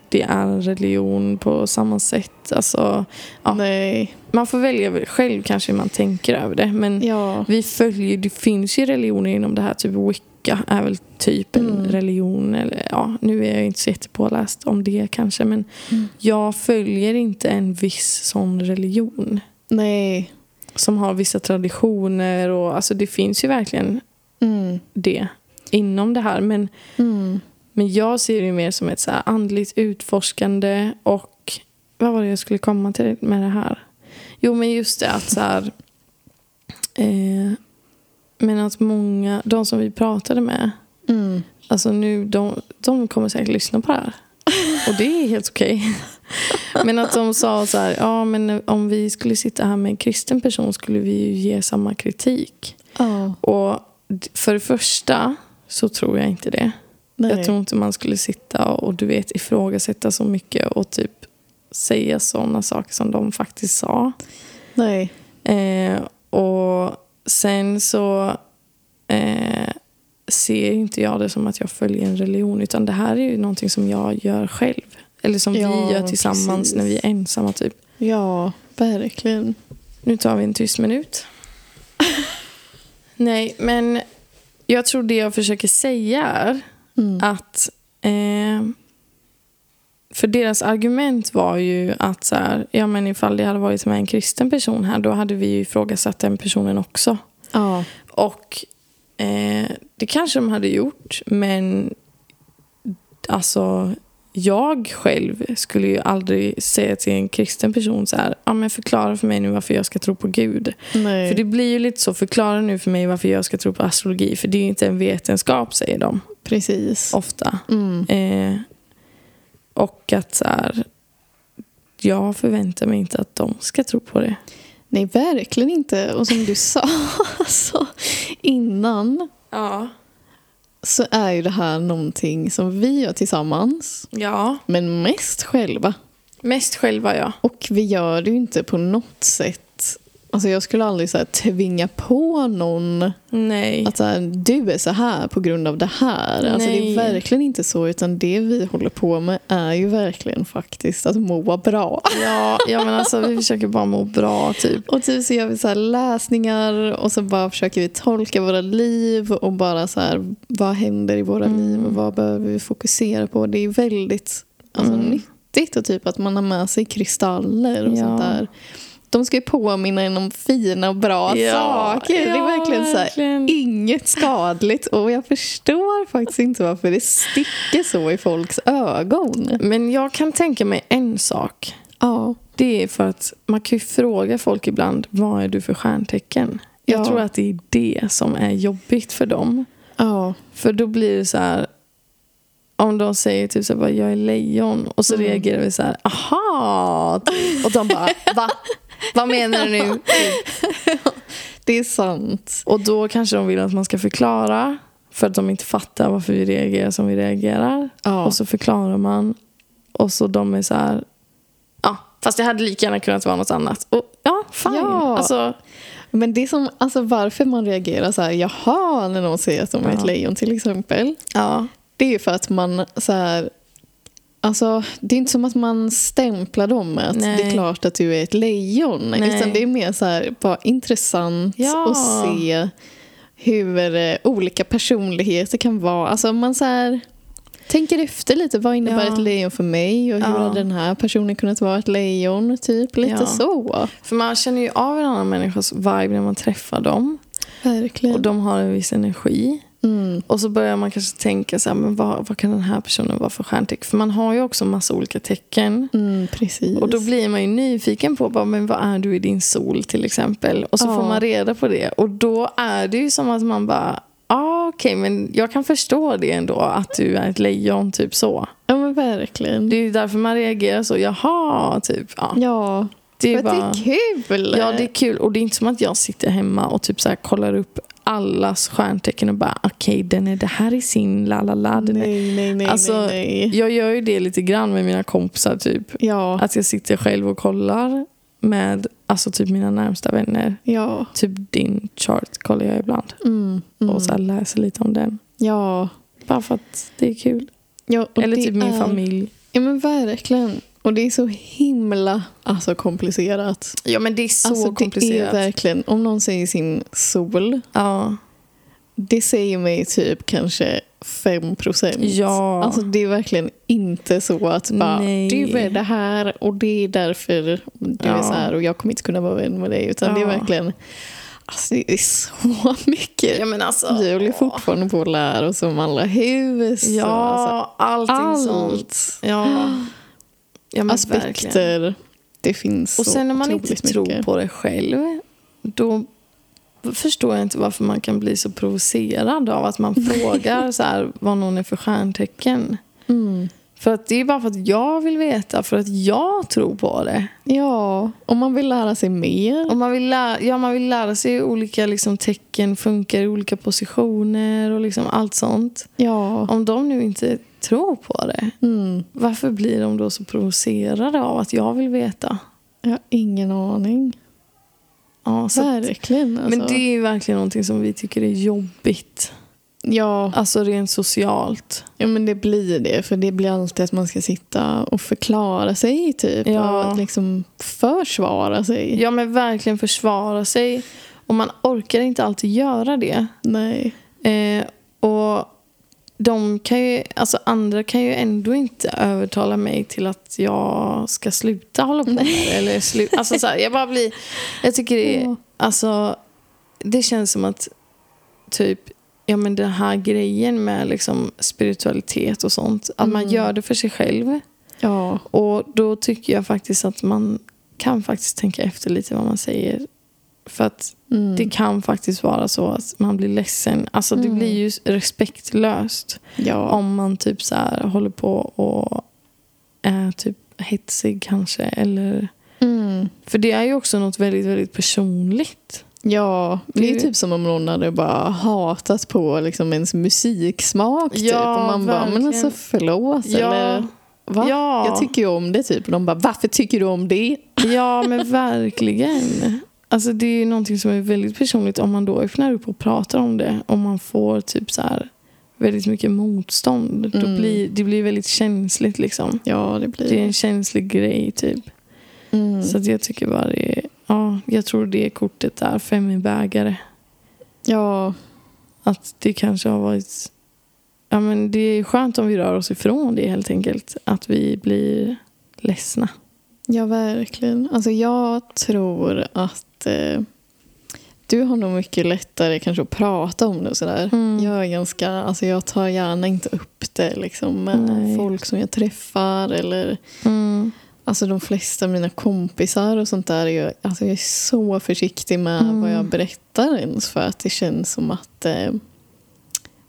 Speaker 2: det är en religion på samma sätt. Alltså, Ja.
Speaker 1: Nej.
Speaker 2: man får välja själv kanske hur man tänker över det. Men
Speaker 1: Ja.
Speaker 2: vi följer, det finns ju religioner inom det här. Typ wicca är väl typ en
Speaker 1: Mm.
Speaker 2: religion. Eller, ja, nu är jag inte så jättepåläst om det kanske. Men
Speaker 1: Mm.
Speaker 2: jag följer inte en viss sån religion.
Speaker 1: Nej.
Speaker 2: Som har vissa traditioner. Och, alltså, det finns ju verkligen
Speaker 1: Mm.
Speaker 2: det inom det här. Men
Speaker 1: Mm.
Speaker 2: Men jag ser det mer som ett så här andligt utforskande och vad var det jag skulle komma till med det här? Jo, men just det att så här, eh, men att många, de som vi pratade med,
Speaker 1: Mm.
Speaker 2: alltså nu, de, de kommer säkert lyssna på det här. Och det är helt okej. Men att de sa så här, ja men om vi skulle sitta här med en kristen person skulle vi ju ge samma kritik.
Speaker 1: Ja.
Speaker 2: Och d- för det första så tror jag inte det.
Speaker 1: Nej.
Speaker 2: Jag tror inte man skulle sitta och du vet ifrågasätta så mycket och typ säga sådana saker som de faktiskt sa.
Speaker 1: Nej.
Speaker 2: Eh, och sen så eh, ser inte jag det som att jag följer en religion utan det här är ju någonting som jag gör själv. Eller som
Speaker 1: Ja,
Speaker 2: vi gör tillsammans
Speaker 1: precis.
Speaker 2: när vi är ensamma typ.
Speaker 1: Ja, verkligen.
Speaker 2: Nu tar vi en tyst minut. Nej, men jag tror det jag försöker säga är
Speaker 1: Mm.
Speaker 2: att... Eh, för deras argument var ju att så här, ja, men ifall det hade varit med en kristen person här då hade vi ju ifrågasatt den personen också.
Speaker 1: Ja.
Speaker 2: Och eh, det kanske de hade gjort men alltså jag själv skulle ju aldrig säga till en kristen person så här, ja men förklara för mig nu varför jag ska tro på Gud.
Speaker 1: Nej.
Speaker 2: För det blir ju lite så, förklara nu för mig varför jag ska tro på astrologi för det är ju inte en vetenskap säger de
Speaker 1: Precis.
Speaker 2: ofta.
Speaker 1: Mm.
Speaker 2: Eh, och att så här, jag förväntar mig inte att de ska tro på det.
Speaker 1: Nej, verkligen inte. Och som du sa alltså, innan
Speaker 2: Ja.
Speaker 1: så är ju det här någonting som vi gör tillsammans,
Speaker 2: ja.
Speaker 1: men mest själva.
Speaker 2: Mest själva, ja.
Speaker 1: Och vi gör det ju inte på något sätt Alltså jag skulle aldrig så här, tvinga på någon
Speaker 2: Nej.
Speaker 1: att så här, du är så här på grund av det här. Alltså det
Speaker 2: Nej.
Speaker 1: är verkligen inte så utan det vi håller på med är ju verkligen faktiskt att må bra.
Speaker 2: Ja, ja, men alltså vi försöker bara må bra typ.
Speaker 1: Och typ så gör vi så här läsningar och så bara försöker vi tolka våra liv och bara så här, vad händer i
Speaker 2: Mm.
Speaker 1: våra liv och vad behöver vi fokusera på. Det är väldigt alltså,
Speaker 2: Mm.
Speaker 1: nyttigt och typ att man har med sig kristaller och
Speaker 2: Ja.
Speaker 1: sånt där. De ska ju påminna en om fina och bra
Speaker 2: Ja,
Speaker 1: saker. det
Speaker 2: ja,
Speaker 1: är verkligen så här,
Speaker 2: verkligen.
Speaker 1: inget skadligt och jag förstår faktiskt inte varför det sticker så i folks ögon.
Speaker 2: Men jag kan tänka mig en sak.
Speaker 1: Ja.
Speaker 2: Det är för att man kan ju fråga folk ibland, vad är du för stjärntecken? Jag
Speaker 1: Ja.
Speaker 2: tror att det är det som är jobbigt för dem.
Speaker 1: Ja.
Speaker 2: För då blir det så här, om de säger typ så här, bara, jag är lejon och så reagerar vi så här, aha! Typ. Och de bara, va? Vad menar du nu? Typ.
Speaker 1: Det är sant.
Speaker 2: Och då kanske de vill att man ska förklara för att de inte fattar varför vi reagerar som vi reagerar.
Speaker 1: Ja.
Speaker 2: Och så förklarar man och så de är så här, ja, fast det hade lika gärna kunnat vara något annat. Och ja, fine.
Speaker 1: Ja.
Speaker 2: Alltså,
Speaker 1: Men det som, alltså varför man reagerar så här, jaha, när någon säger att de är
Speaker 2: Ja.
Speaker 1: ett lejon till exempel.
Speaker 2: ja.
Speaker 1: Det är ju för att man så här, alltså det är inte som att man stämplar dem med att
Speaker 2: Nej.
Speaker 1: det är klart att du är ett lejon.
Speaker 2: Nej.
Speaker 1: Utan det är mer så här, bara intressant
Speaker 2: Ja.
Speaker 1: att se hur eh, olika personligheter kan vara. Alltså man så här, tänker efter lite, vad innebär
Speaker 2: Ja.
Speaker 1: ett lejon för mig? Och hur
Speaker 2: Ja.
Speaker 1: hade den här personen kunnat vara ett lejon? Typ lite
Speaker 2: Ja.
Speaker 1: så.
Speaker 2: För man känner ju av en annan människas vibe när man träffar dem.
Speaker 1: Verkligen.
Speaker 2: Och de har en viss energi.
Speaker 1: mm.
Speaker 2: Och så börjar man kanske tänka så här, men vad, vad kan den här personen vara för stjärntecken? För man har ju också massa olika tecken.
Speaker 1: Mm, precis.
Speaker 2: Och då blir man ju nyfiken på, bara, men vad är du i din sol till exempel? Och så
Speaker 1: Ja.
Speaker 2: får man reda på det. Och då är det ju som att man bara, ah, okej men jag kan förstå det ändå att du är ett lejon, typ så.
Speaker 1: Ja men verkligen.
Speaker 2: Det är ju därför man reagerar så, jaha, typ. Ja,
Speaker 1: ja,
Speaker 2: det är ju
Speaker 1: det är,
Speaker 2: bara...
Speaker 1: det är kul.
Speaker 2: Ja, det är kul. Och det är inte som att jag sitter hemma och typ så här kollar upp allas stjärntecken och bara okej, den är det här i sin la la la. den är-"
Speaker 1: Nej, nej, nej,
Speaker 2: Alltså,
Speaker 1: nej, nej.
Speaker 2: Jag gör ju det lite grann med mina kompisar typ.
Speaker 1: Ja,
Speaker 2: Att jag sitter själv och kollar med alltså typ mina närmsta vänner.
Speaker 1: ja.
Speaker 2: Typ din chart kollar jag ibland
Speaker 1: Mm, mm.
Speaker 2: och så här läser lite om den.
Speaker 1: Ja.
Speaker 2: Bara för att det är kul.
Speaker 1: ja och
Speaker 2: Eller
Speaker 1: det
Speaker 2: typ min
Speaker 1: är-
Speaker 2: familj.
Speaker 1: Ja men verkligen. Och det är så himla alltså, komplicerat.
Speaker 2: Ja men det är så
Speaker 1: alltså,
Speaker 2: komplicerat.
Speaker 1: Det är verkligen, om någon säger sin sol,
Speaker 2: Ja.
Speaker 1: det säger mig typ kanske 5 procent.
Speaker 2: ja.
Speaker 1: Alltså det är verkligen inte så att bara,
Speaker 2: Nej.
Speaker 1: du är det här och det är därför du
Speaker 2: Ja.
Speaker 1: är så här och jag kommer inte kunna vara vän med dig. Utan det är
Speaker 2: Ja.
Speaker 1: verkligen, alltså det är så mycket.
Speaker 2: ja men alltså.
Speaker 1: Vi håller fortfarande på att lära oss om alla hus. och alltså,
Speaker 2: Ja, allting sånt.
Speaker 1: allt.
Speaker 2: Ja. ja men verkligen.
Speaker 1: Aspekter. Det finns
Speaker 2: Och
Speaker 1: så
Speaker 2: sen när man inte
Speaker 1: otroligt
Speaker 2: tror
Speaker 1: mycket.
Speaker 2: på det själv, då förstår jag inte varför man kan bli så provocerad av att man frågar så här, vad någon är för stjärntecken.
Speaker 1: Mm.
Speaker 2: För att det är bara för att jag vill veta, för att jag tror på det.
Speaker 1: Ja, om man vill lära sig mer.
Speaker 2: Och man vill lära, ja, man vill lära sig hur olika liksom, tecken funkar i olika positioner och liksom allt sånt.
Speaker 1: Ja.
Speaker 2: Om de nu inte tror på det,
Speaker 1: Mm.
Speaker 2: varför blir de då så provocerade av att jag vill veta?
Speaker 1: Jag har ingen aning.
Speaker 2: Ja, så att-
Speaker 1: Verkligen. Alltså.
Speaker 2: Men det är ju verkligen någonting som vi tycker är jobbigt.
Speaker 1: ja.
Speaker 2: Alltså rent socialt.
Speaker 1: ja, men det blir det. För det blir alltid att man ska sitta och förklara sig typ.
Speaker 2: Ja.
Speaker 1: Och liksom försvara sig.
Speaker 2: Ja men verkligen försvara sig. Och man orkar inte alltid göra det.
Speaker 1: Nej.
Speaker 2: Eh, och de kan ju, alltså andra kan ju ändå inte övertala mig till att jag ska sluta hålla på med det. Eller slu, alltså så här, jag bara blir, jag tycker det är,
Speaker 1: Ja.
Speaker 2: alltså det känns som att typ, ja men den här grejen med liksom spiritualitet och sånt, att man
Speaker 1: Mm.
Speaker 2: gör det för sig själv.
Speaker 1: Ja.
Speaker 2: Och då tycker jag faktiskt att man kan faktiskt tänka efter lite vad man säger. För att
Speaker 1: Mm.
Speaker 2: det kan faktiskt vara så att man blir ledsen. Alltså det
Speaker 1: Mm.
Speaker 2: blir ju respektlöst
Speaker 1: ja.
Speaker 2: om man typ så här håller på och är typ hetsig kanske. Eller...
Speaker 1: Mm.
Speaker 2: För det är ju också något väldigt, väldigt personligt.
Speaker 1: Ja, det är
Speaker 2: Det-
Speaker 1: ju typ som om någon hade bara hatat på liksom ens musiksmak. typ.
Speaker 2: Ja,
Speaker 1: Och man bara, men
Speaker 2: verkligen.
Speaker 1: alltså förlåt. Eller, va?
Speaker 2: ja,
Speaker 1: Jag tycker ju om det typ. Och de bara, varför tycker du om det?
Speaker 2: ja, men verkligen. Alltså det är ju någonting som är väldigt personligt om man då öppnar upp och pratar om det. Om man får typ så här väldigt mycket motstånd. Då
Speaker 1: Mm.
Speaker 2: blir, det blir väldigt känsligt liksom.
Speaker 1: Ja, det blir
Speaker 2: Det är en känslig grej typ.
Speaker 1: Mm.
Speaker 2: Så att jag tycker bara det är, ja, jag tror det kortet är femmibägare.
Speaker 1: Ja,
Speaker 2: Att det kanske har varit, ja men det är skönt om vi rör oss ifrån det helt enkelt. Att vi blir ledsna.
Speaker 1: ja, verkligen. Alltså jag tror att eh, du har nog mycket lättare kanske att prata om det och sådär.
Speaker 2: Mm.
Speaker 1: Jag är ganska, alltså jag tar gärna inte upp det liksom med
Speaker 2: Nej.
Speaker 1: folk som jag träffar eller
Speaker 2: Mm.
Speaker 1: Alltså de flesta av mina kompisar och sånt där är ju, alltså jag är så försiktig med
Speaker 2: Mm.
Speaker 1: vad jag berättar ens för att det känns som att eh,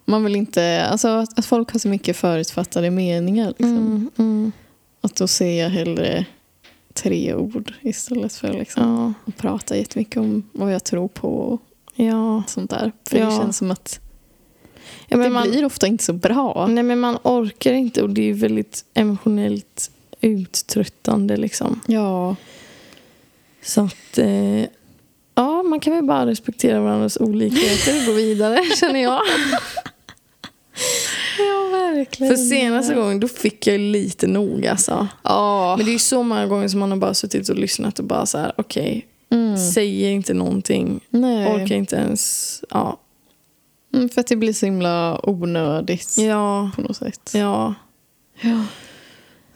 Speaker 1: man vill inte, alltså att, att folk har så mycket förutfattade meningar liksom.
Speaker 2: Mm. Mm.
Speaker 1: Att då säger jag hellre tre ord istället för liksom
Speaker 2: Ja.
Speaker 1: att prata jättemycket om vad jag tror på och
Speaker 2: ja.
Speaker 1: sånt där. För det
Speaker 2: Ja.
Speaker 1: känns som att
Speaker 2: ja
Speaker 1: det
Speaker 2: men man, Mm.
Speaker 1: blir ofta inte så bra.
Speaker 2: Nej men man orkar inte och det är ju väldigt emotionellt uttröttande liksom.
Speaker 1: Ja,
Speaker 2: Så att eh, ja, man kan väl bara respektera varandras olikheter och gå vidare känner jag.
Speaker 1: ja verkligen.
Speaker 2: För senaste gången då fick jag lite nog alltså.
Speaker 1: Ja.
Speaker 2: Men det är ju så många gånger som man har bara suttit och lyssnat och bara så här: okej,
Speaker 1: Mm.
Speaker 2: säger inte någonting.
Speaker 1: Nej.
Speaker 2: Orkar inte ens, ja.
Speaker 1: Mm, för att det blir så himla onödigt
Speaker 2: Ja,
Speaker 1: på något sätt.
Speaker 2: ja.
Speaker 1: Ja.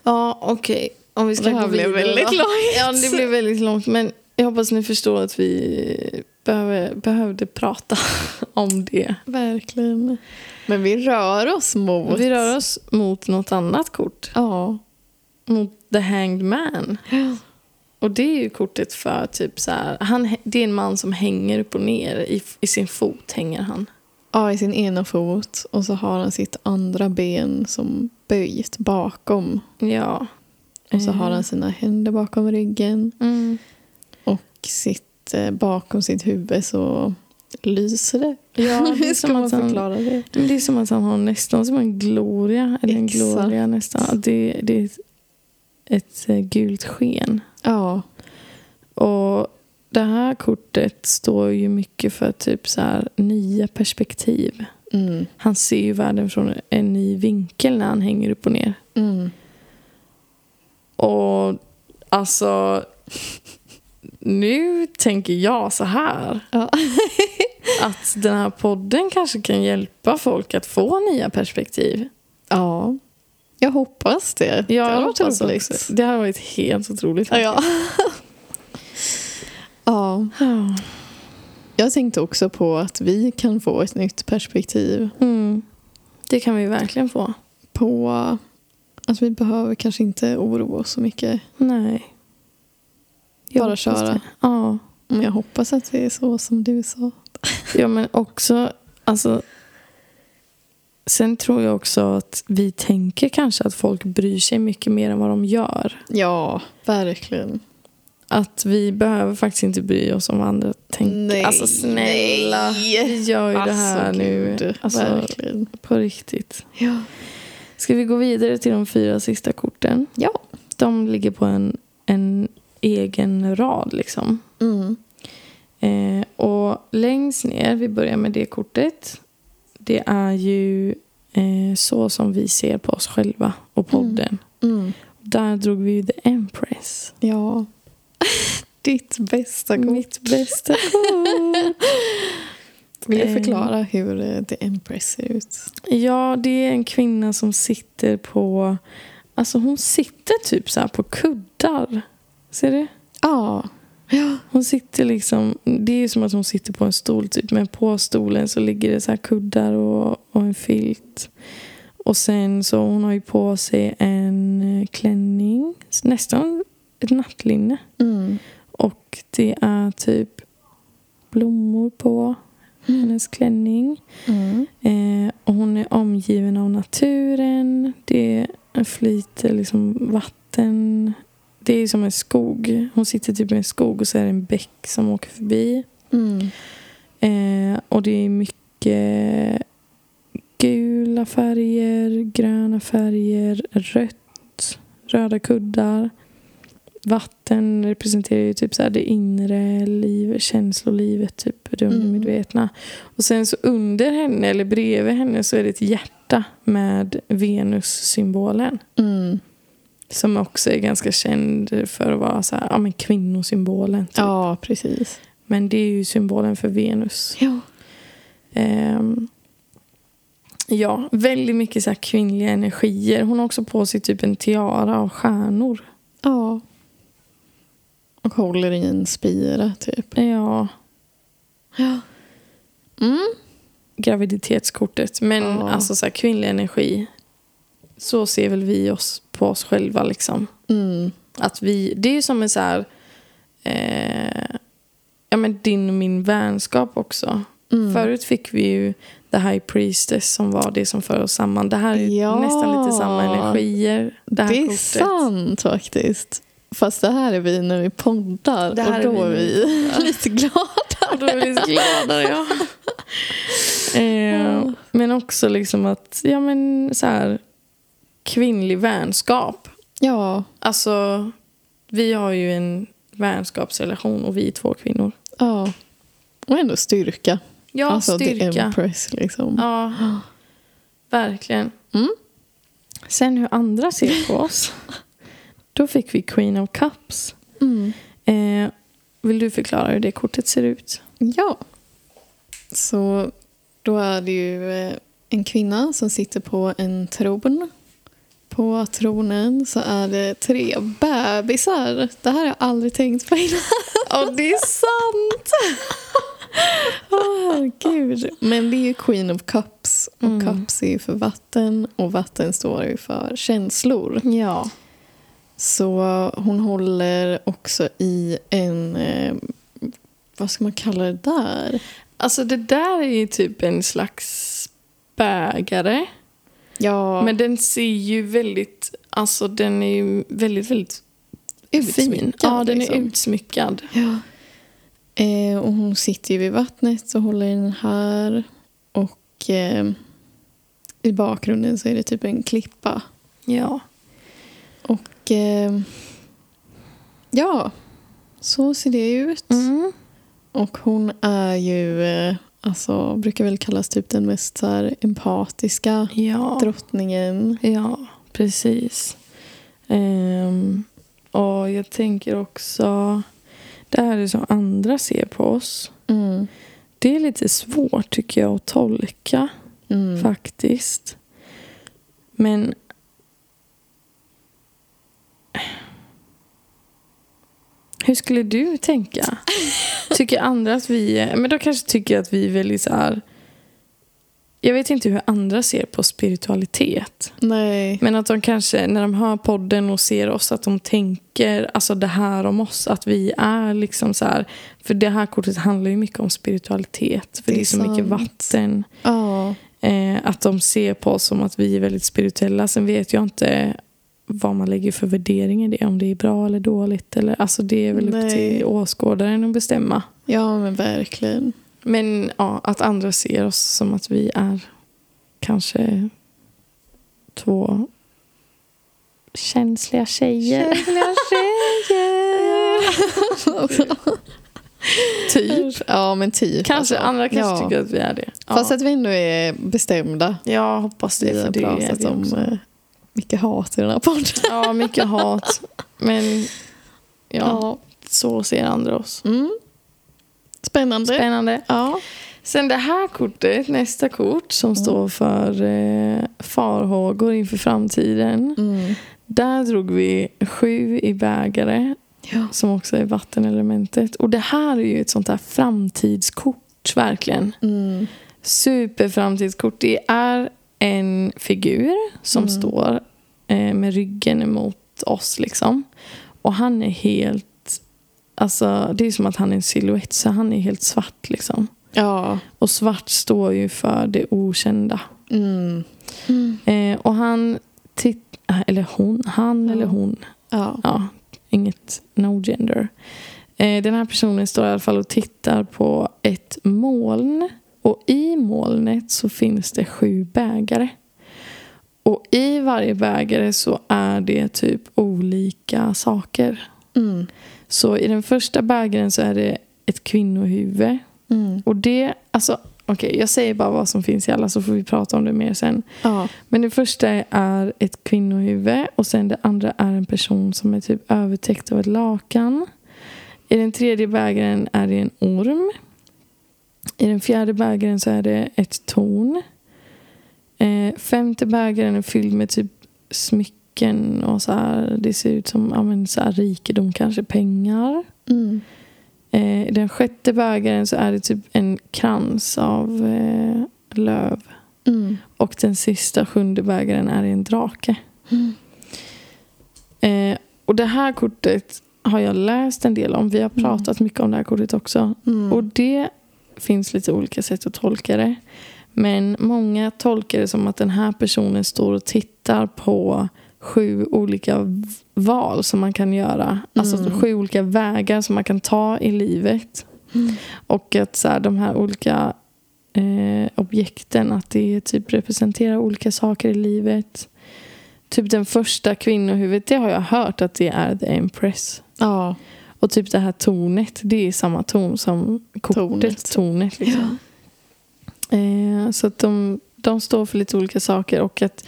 Speaker 2: Ja, okej. Om vi ska
Speaker 1: Det här
Speaker 2: gå
Speaker 1: blev
Speaker 2: vidare,
Speaker 1: väldigt
Speaker 2: va?
Speaker 1: långt.
Speaker 2: Ja, det blev väldigt långt. Men jag hoppas ni förstår att vi behöver, behövde prata om det.
Speaker 1: Verkligen. Men vi rör oss mot...
Speaker 2: Vi rör oss mot något annat kort.
Speaker 1: Ja.
Speaker 2: Mot The Hanged Man. Och det är ju kortet för typ så här, han, hä- det är en man som hänger upp och ner. I, i sin fot hänger han.
Speaker 1: ja, i sin ena fot och så har han sitt andra ben som böjt bakom.
Speaker 2: Ja.
Speaker 1: Och så
Speaker 2: Eh,
Speaker 1: har han sina händer bakom ryggen
Speaker 2: Mm.
Speaker 1: och sitt, eh, bakom sitt huvud så lyser det.
Speaker 2: Ja, det är
Speaker 1: Hur ska
Speaker 2: som
Speaker 1: man
Speaker 2: att han-
Speaker 1: förklara det?
Speaker 2: Men Det är som att han har nästan som en gloria. Eller en
Speaker 1: Exakt.
Speaker 2: gloria nästan. Det, det är ett, ett eh, gult sken.
Speaker 1: Ja.
Speaker 2: Och det här kortet står ju mycket för typ så här nya perspektiv.
Speaker 1: Mm.
Speaker 2: Han ser ju världen från en ny vinkel när han hänger upp och ner.
Speaker 1: Mm.
Speaker 2: Och alltså, nu tänker jag så här.
Speaker 1: Ja.
Speaker 2: Att den här podden kanske kan hjälpa folk att få nya perspektiv.
Speaker 1: ja. Jag hoppas det.
Speaker 2: Ja,
Speaker 1: det
Speaker 2: jag
Speaker 1: hade varit
Speaker 2: hoppas
Speaker 1: roligt.
Speaker 2: också. Det har varit helt otroligt.
Speaker 1: Ja, ja. ja.
Speaker 2: Ja.
Speaker 1: Jag tänkte också på att vi kan få ett nytt perspektiv
Speaker 2: Mm. Det kan vi verkligen få.
Speaker 1: på att vi behöver kanske inte oroa oss så mycket.
Speaker 2: Nej.
Speaker 1: Bara
Speaker 2: hoppas
Speaker 1: köra.
Speaker 2: det. Ja.
Speaker 1: Men jag hoppas att det är så som du sa.
Speaker 2: ja, men också... Alltså, sen tror jag också att vi tänker kanske att folk bryr sig mycket mer än vad de gör.
Speaker 1: Ja, verkligen.
Speaker 2: Att vi behöver faktiskt inte bry oss om vad andra tänker.
Speaker 1: Nej,
Speaker 2: alltså snälla,
Speaker 1: nej. Alltså,
Speaker 2: vi gör ju det här nu.
Speaker 1: gud,
Speaker 2: Alltså,
Speaker 1: verkligen.
Speaker 2: på riktigt.
Speaker 1: Ja.
Speaker 2: Ska vi gå vidare till de fyra sista korten?
Speaker 1: Ja.
Speaker 2: De ligger på en, en egen rad liksom.
Speaker 1: Mm.
Speaker 2: Eh, och längst ner, vi börjar med det kortet. Det är ju eh, så som vi ser på oss själva och podden.
Speaker 1: Mm.
Speaker 2: Där drog vi ju The Empress.
Speaker 1: Ja. Ditt bästa kort.
Speaker 2: Mitt bästa kort.
Speaker 1: Vill du
Speaker 2: Eh.
Speaker 1: förklara hur eh, The Empress ser ut?
Speaker 2: Ja, det är en kvinna som sitter på... Alltså hon sitter typ så här på kuddar. Ser du?
Speaker 1: Ja. Ja.
Speaker 2: Hon sitter liksom, det är ju som att hon sitter på en stol typ, men på stolen så ligger det så här kuddar och, och en filt. Och sen så hon har ju på sig en eh, klänning, nästan ett nattlinne.
Speaker 1: Mm.
Speaker 2: Och det är typ blommor på hennes klänning.
Speaker 1: Mm.
Speaker 2: Eh, och hon är omgiven av naturen. Det flyter liksom vatten. Det är som en skog. Hon sitter typ i en skog och så är det en bäck som åker förbi.
Speaker 1: Mm.
Speaker 2: Eh, och det är mycket gula färger, gröna färger, rött, röda kuddar. Vatten representerar ju typ så här det inre livet, känslolivet, typ det
Speaker 1: Mm.
Speaker 2: undermedvetna. Och sen så under henne, eller bredvid henne, så är det ett hjärta med Venus-symbolen.
Speaker 1: Mm.
Speaker 2: Som också är ganska känd för att vara så här, ja, men kvinnosymbolen. Typ.
Speaker 1: Ja, precis.
Speaker 2: Men det är ju symbolen för Venus.
Speaker 1: Ja.
Speaker 2: Ehm, ja, väldigt mycket så här kvinnliga energier. Hon har också på sig typ en tiara av stjärnor.
Speaker 1: ja. Och håller i en spira, typ.
Speaker 2: Ja,
Speaker 1: Ja. Mm.
Speaker 2: graviditetskortet. Men
Speaker 1: Ja.
Speaker 2: alltså så här kvinnlig energi. Så ser väl vi oss på oss själva liksom.
Speaker 1: Mm.
Speaker 2: Att vi, det är ju som en så här... Eh, ja men din och min vänskap också.
Speaker 1: Mm.
Speaker 2: Förut fick vi ju The High Priestess som var det som för oss samman. Det här är ju
Speaker 1: Ja.
Speaker 2: nästan lite samma energier. Det, här
Speaker 1: det är
Speaker 2: kortet.
Speaker 1: sant faktiskt. Fast det här är vi när vi poddar
Speaker 2: Det här
Speaker 1: och då
Speaker 2: är
Speaker 1: är
Speaker 2: vi
Speaker 1: vi, lite glada.
Speaker 2: Och då är vi liksom- lite gladare, ja. Eh, men också liksom att, ja men så här, kvinnlig vänskap.
Speaker 1: Ja,
Speaker 2: Alltså, vi har ju en vänskapsrelation och vi är två kvinnor.
Speaker 1: ja. Och ändå styrka.
Speaker 2: Ja,
Speaker 1: alltså the
Speaker 2: styrka.
Speaker 1: empress liksom.
Speaker 2: Ja, verkligen.
Speaker 1: Mm.
Speaker 2: Sen hur andra ser på oss. Då fick vi Queen of Cups.
Speaker 1: Mm.
Speaker 2: Eh, vill du förklara hur det kortet ser ut?
Speaker 1: Ja. Så då är det ju eh, en kvinna som sitter på en tron. På tronen så är det tre bebisar. Det här har jag aldrig tänkt på innan.
Speaker 2: Ja, det är sant!
Speaker 1: Åh, herregud. Men det är ju Queen of Cups. Och
Speaker 2: Mm.
Speaker 1: Cups är ju för vatten och vatten står ju för känslor.
Speaker 2: Ja.
Speaker 1: Så hon håller också i en... Eh, vad ska man kalla det där?
Speaker 2: Alltså det där är ju typ en slags bägare.
Speaker 1: Ja,
Speaker 2: Men den ser ju väldigt, alltså den är ju väldigt, väldigt fin.
Speaker 1: utsmyckad,
Speaker 2: Ja, den är
Speaker 1: liksom.
Speaker 2: utsmyckad.
Speaker 1: Ja. Eh, och hon sitter ju vid vattnet och håller i den här. Och eh, i bakgrunden så är det typ en klippa.
Speaker 2: Ja.
Speaker 1: Och eh, ja, så ser det ut.
Speaker 2: Mm.
Speaker 1: Och hon är ju, eh, alltså brukar väl kallas typ den mest så här, empatiska
Speaker 2: Ja.
Speaker 1: drottningen.
Speaker 2: Ja, precis. Ehm, och jag tänker också, det här är som andra ser på oss.
Speaker 1: Mm.
Speaker 2: Det är lite svårt tycker jag att tolka
Speaker 1: Mm.
Speaker 2: faktiskt. Men Hur skulle du tänka? Tycker andra att vi är... Men de kanske tycker att vi är väldigt så här... Jag vet inte hur andra ser på spiritualitet.
Speaker 1: Nej.
Speaker 2: Men att de kanske, när de hör podden och ser oss, att de tänker alltså det här om oss. Att vi är liksom så här. För det här kortet handlar ju mycket om spiritualitet. För det är,
Speaker 1: Det är
Speaker 2: så mycket
Speaker 1: sant.
Speaker 2: vatten.
Speaker 1: Ja.
Speaker 2: Eh, att de ser på oss som att vi är väldigt spirituella. Sen vet jag inte vad man lägger för värdering i det. Om det är bra eller dåligt. Eller, alltså det är väl upp
Speaker 1: Nej.
Speaker 2: till åskådaren att bestämma.
Speaker 1: ja, men verkligen.
Speaker 2: Men ja, att andra ser oss som att vi är kanske två känsliga tjejer.
Speaker 1: Känsliga tjejer!
Speaker 2: Typ.
Speaker 1: ja, men typ.
Speaker 2: Kanske
Speaker 1: alltså.
Speaker 2: andra kanske
Speaker 1: ja.
Speaker 2: tycker att vi är det. Ja.
Speaker 1: Fast att vi ändå är bestämda.
Speaker 2: jag hoppas det.
Speaker 1: Vi
Speaker 2: För
Speaker 1: har
Speaker 2: det är
Speaker 1: pratat
Speaker 2: det
Speaker 1: om
Speaker 2: också.
Speaker 1: eh, mycket hat i den här podden.
Speaker 2: Ja, mycket hat. Men ja, så ser andra oss.
Speaker 1: Mm. Spännande.
Speaker 2: Spännande.
Speaker 1: Ja.
Speaker 2: Sen det här kortet, nästa kort som
Speaker 1: Mm.
Speaker 2: står för eh, farhågor inför framtiden.
Speaker 1: Mm.
Speaker 2: Där drog vi sju i bägare
Speaker 1: ja.
Speaker 2: som också är vattenelementet. Och det här är ju ett sånt här framtidskort, verkligen.
Speaker 1: Mm.
Speaker 2: Superframtidskort. Det är en figur som
Speaker 1: Mm.
Speaker 2: står eh, med ryggen emot oss liksom. Och han är helt, alltså det är som att han är en silhuett så han är helt svart liksom.
Speaker 1: Ja.
Speaker 2: Och svart står ju för det okända.
Speaker 1: Mm. Mm.
Speaker 2: Eh, och han, titt- eller hon, han
Speaker 1: Ja.
Speaker 2: eller hon
Speaker 1: Ja.
Speaker 2: ja, inget no gender. Eh, den här personen står i alla fall och tittar på ett moln. Och i molnet så finns det sju bägare. Och i varje bägare så är det typ olika saker.
Speaker 1: Mm.
Speaker 2: Så i den första bägaren så är det ett kvinnohuvud.
Speaker 1: Mm.
Speaker 2: Och det, alltså okej jag säger bara vad som finns i alla så får vi prata om det mer sen.
Speaker 1: Ja.
Speaker 2: Men det första är ett kvinnohuvud och sen det andra är en person som är typ övertäckt av ett lakan. I den tredje bägaren är det en orm. I den fjärde bägaren så är det ett torn. Eh, femte bägaren är fylld med typ smycken och så här, det ser ut som ja, men så här, rikedom, kanske pengar.
Speaker 1: Mm.
Speaker 2: Eh, I den sjätte bägaren så är det typ en krans av eh, löv.
Speaker 1: Mm.
Speaker 2: Och den sista sjunde bägaren är en drake.
Speaker 1: Mm.
Speaker 2: Eh, och det här kortet har jag läst en del om. Vi har pratat mycket om det här kortet också.
Speaker 1: Mm.
Speaker 2: Och det finns lite olika sätt att tolka det. Men många tolkar det som att den här personen står och tittar på sju olika v- val som man kan göra. Alltså
Speaker 1: Mm.
Speaker 2: sju olika vägar som man kan ta i livet.
Speaker 1: Mm.
Speaker 2: Och att så här, de här olika eh, objekten, att det typ representerar olika saker i livet. Typ den första kvinnohuvudet, det har jag hört att det är The Empress.
Speaker 1: Ja.
Speaker 2: Och typ det här tornet, det är samma torn som kortet,
Speaker 1: Tornet.
Speaker 2: tornet. liksom. Eh, så att de, de står för lite olika saker och att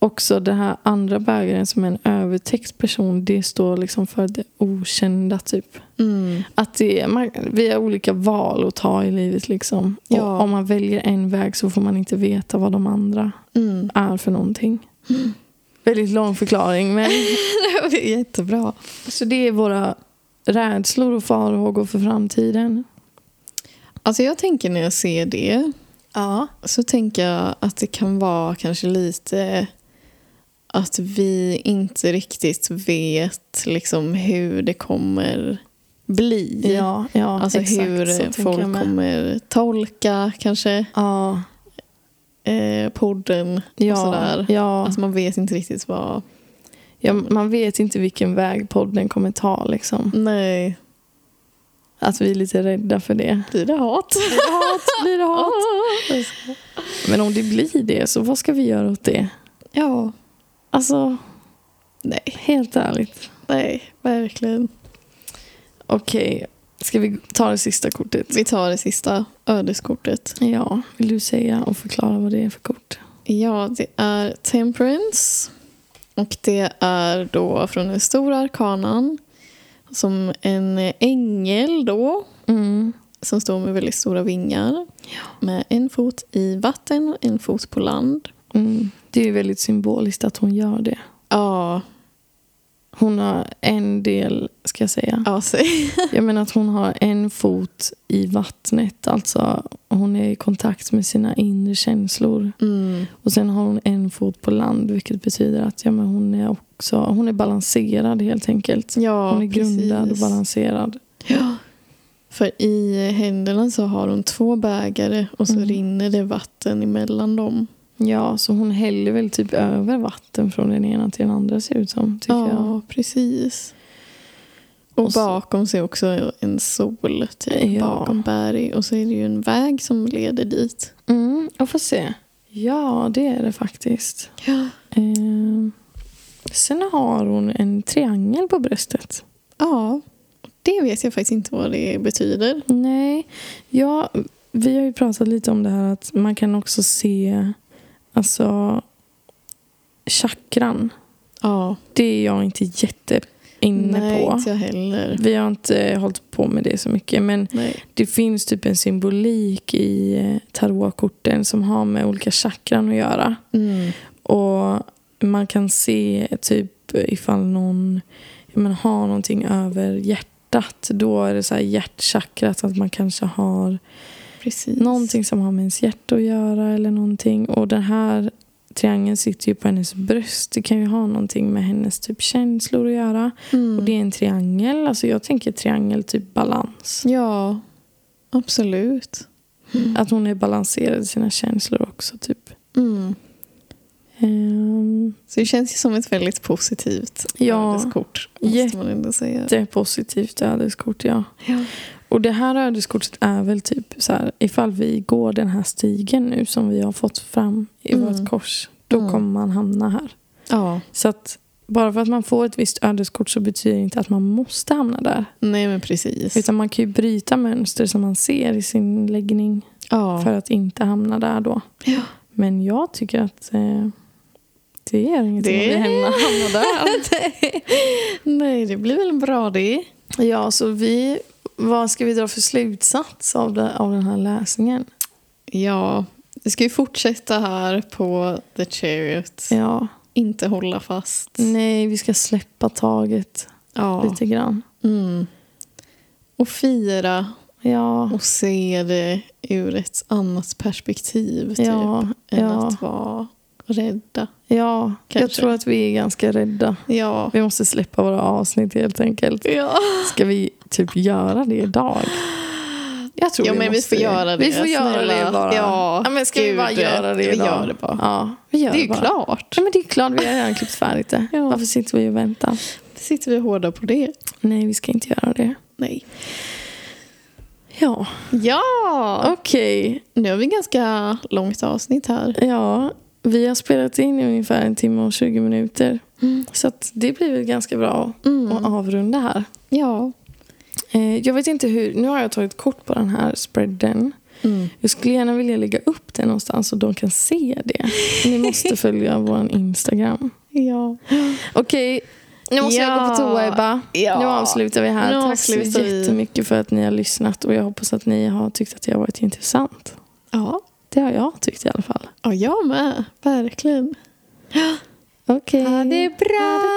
Speaker 2: också det här andra bägaren som är en övertäckt person, det står liksom för det okända typ.
Speaker 1: Mm.
Speaker 2: Att det är, man, vi har olika val att ta i livet. Liksom.
Speaker 1: Ja.
Speaker 2: Och om man väljer en väg så får man inte veta vad de andra
Speaker 1: Mm.
Speaker 2: är för någonting. Väldigt lång förklaring. Men,
Speaker 1: det är jättebra.
Speaker 2: så det är våra rädslor och farhågor för framtiden.
Speaker 1: Alltså jag tänker när jag ser det
Speaker 2: Ja.
Speaker 1: så tänker jag att det kan vara kanske lite att vi inte riktigt vet liksom hur det kommer bli.
Speaker 2: Ja, ja
Speaker 1: Alltså
Speaker 2: exakt, så
Speaker 1: hur
Speaker 2: tänker
Speaker 1: folk
Speaker 2: jag med.
Speaker 1: kommer tolka kanske
Speaker 2: Ja,
Speaker 1: eh, podden och
Speaker 2: ja,
Speaker 1: sådär.
Speaker 2: ja.
Speaker 1: Alltså man vet inte riktigt vad...
Speaker 2: ja, man vet inte vilken väg podden kommer ta. Liksom.
Speaker 1: Nej,
Speaker 2: Att vi är lite rädda för det.
Speaker 1: blir det hat?
Speaker 2: Blir det hat? Blir det hat? Men om det blir det, så vad ska vi göra åt det?
Speaker 1: ja,
Speaker 2: Alltså,
Speaker 1: nej,
Speaker 2: helt ärligt.
Speaker 1: nej, verkligen.
Speaker 2: Okej, ska vi ta det sista kortet?
Speaker 1: Vi tar det sista ödeskortet.
Speaker 2: Ja, vill du säga och förklara vad det är för kort?
Speaker 1: Ja, det är Temperance. Och det är då från den stora arkanan. Som en ängel då.
Speaker 2: Mm.
Speaker 1: Som står med väldigt stora vingar. Med en fot i vatten och en fot på land.
Speaker 2: Mm. Det är ju väldigt symboliskt att hon gör det.
Speaker 1: Ja,
Speaker 2: Hon har en del, ska jag säga.
Speaker 1: ja säg.
Speaker 2: Jag menar att hon har en fot i vattnet. Alltså, hon är i kontakt med sina inre känslor.
Speaker 1: Mm,
Speaker 2: Och sen har hon en fot på land, vilket betyder att ja, men hon är också... Hon är balanserad helt enkelt.
Speaker 1: ja,
Speaker 2: Hon är grundad och
Speaker 1: precis.
Speaker 2: balanserad.
Speaker 1: Ja. För i händerna så har hon två bägare och så
Speaker 2: Mm.
Speaker 1: rinner det vatten emellan dem.
Speaker 2: Ja, så hon häller väl typ över vatten från den ena till den andra ser det ut som. Tycker
Speaker 1: ja,
Speaker 2: jag.
Speaker 1: precis. Och,
Speaker 2: Och så-
Speaker 1: bakom sig också en sol, typ,
Speaker 2: Ja.
Speaker 1: bakom berg. Och så är det ju en väg som leder dit.
Speaker 2: Mm, jag får se. Ja, det är det faktiskt.
Speaker 1: Ja.
Speaker 2: Ehm, sen har hon en triangel på bröstet.
Speaker 1: ja, det vet jag faktiskt inte vad det betyder.
Speaker 2: Nej, ja, vi har ju pratat lite om det här att man kan också se alltså chakran.
Speaker 1: Ja,
Speaker 2: Det är jag inte jätte inne
Speaker 1: nej,
Speaker 2: på.
Speaker 1: inte jag heller.
Speaker 2: Vi har inte eh, hållit på med det så mycket, men
Speaker 1: Nej.
Speaker 2: Det finns typ en symbolik i eh, tarotkorten som har med olika chakran att göra.
Speaker 1: Mm.
Speaker 2: Och man kan se typ ifall någon jag menar, har någonting över hjärtat. Då är det så här hjärtchakrat, att man kanske har
Speaker 1: Precis.
Speaker 2: någonting som har med ens hjärta att göra eller någonting. Och den här triangeln sitter ju på hennes bröst. Det kan ju ha någonting med hennes typ känslor att göra.
Speaker 1: Mm.
Speaker 2: Och det är en triangel. Alltså jag tänker triangel, typ balans.
Speaker 1: Ja, absolut.
Speaker 2: Att hon är balanserad i sina känslor också. Typ.
Speaker 1: Mm.
Speaker 2: Ehm,
Speaker 1: Så det känns ju som ett väldigt positivt
Speaker 2: Ja.
Speaker 1: ödeskort. Måste
Speaker 2: Jätte-
Speaker 1: man ändå säga.
Speaker 2: det är positivt ödeskort, ja.
Speaker 1: Ja.
Speaker 2: Och det här ödeskortet är väl typ så här, ifall vi går den här stigen nu som vi har fått fram i
Speaker 1: Mm.
Speaker 2: vårt kors, då
Speaker 1: Mm.
Speaker 2: kommer man hamna här.
Speaker 1: ja.
Speaker 2: Så att bara för att man får ett visst ödeskort så betyder det inte att man måste hamna där.
Speaker 1: Nej, men precis.
Speaker 2: Utan man kan ju bryta mönster som man ser i sin läggning
Speaker 1: Ja.
Speaker 2: för att inte hamna där då.
Speaker 1: Ja.
Speaker 2: Men jag tycker att eh, det gör ingenting
Speaker 1: Det-
Speaker 2: om vi hamnar- hamnar där.
Speaker 1: Nej, det blir väl bra det.
Speaker 2: ja, så vi, vad ska vi dra för slutsats av, det, av den här läsningen?
Speaker 1: Ja, vi ska ju fortsätta här på The Chariot.
Speaker 2: Ja,
Speaker 1: Inte hålla fast.
Speaker 2: nej, vi ska släppa taget
Speaker 1: Ja.
Speaker 2: lite grann.
Speaker 1: Mm. Och fira
Speaker 2: Ja,
Speaker 1: och se det ur ett annat perspektiv. Typ,
Speaker 2: ja,
Speaker 1: än
Speaker 2: ja,
Speaker 1: att vara rädda.
Speaker 2: ja. Jag
Speaker 1: Kanske.
Speaker 2: tror att vi är ganska rädda.
Speaker 1: Ja.
Speaker 2: Vi måste släppa våra avsnitt helt enkelt.
Speaker 1: Ja,
Speaker 2: Ska vi typ göra det idag? Jag tror
Speaker 1: ja men vi
Speaker 2: måste
Speaker 1: får göra det.
Speaker 2: Vi får göra
Speaker 1: snälla.
Speaker 2: det bara.
Speaker 1: Ja,
Speaker 2: men ska vi
Speaker 1: gud,
Speaker 2: bara göra det
Speaker 1: Vi
Speaker 2: idag?
Speaker 1: gör det bara.
Speaker 2: Ja, vi gör
Speaker 1: det är ju
Speaker 2: bara.
Speaker 1: klart.
Speaker 2: Nej, men det är klart, vi har redan klippt färdigt det.
Speaker 1: Ja.
Speaker 2: Varför sitter vi och väntar?
Speaker 1: Sitter vi hårda på det?
Speaker 2: Nej, vi ska inte göra det.
Speaker 1: Nej.
Speaker 2: Ja,
Speaker 1: Ja!
Speaker 2: okej.
Speaker 1: Nu har vi ganska långt avsnitt här.
Speaker 2: Ja, vi har spelat in i ungefär en timme och 20 minuter. Så att det blir väl ganska bra att avrunda här.
Speaker 1: Mm. Ja.
Speaker 2: Eh, jag vet inte hur, nu har jag tagit kort på den här spreaden.
Speaker 1: Mm.
Speaker 2: Jag skulle gärna vilja lägga upp det någonstans så de kan se det. Ni måste följa vår Instagram.
Speaker 1: Ja.
Speaker 2: Okej, nu måste jag gå på toa
Speaker 1: Ja.
Speaker 2: Ebba.
Speaker 1: Ja.
Speaker 2: Nu avslutar vi här.
Speaker 1: Nu
Speaker 2: Tack så
Speaker 1: avslutar vi.
Speaker 2: jättemycket för att ni har lyssnat och jag hoppas att ni har tyckt att det har varit intressant.
Speaker 1: Ja.
Speaker 2: Det har jag tyckt i alla fall.
Speaker 1: Ja, jag med. Verkligen.
Speaker 2: Okej.
Speaker 1: Ha det bra!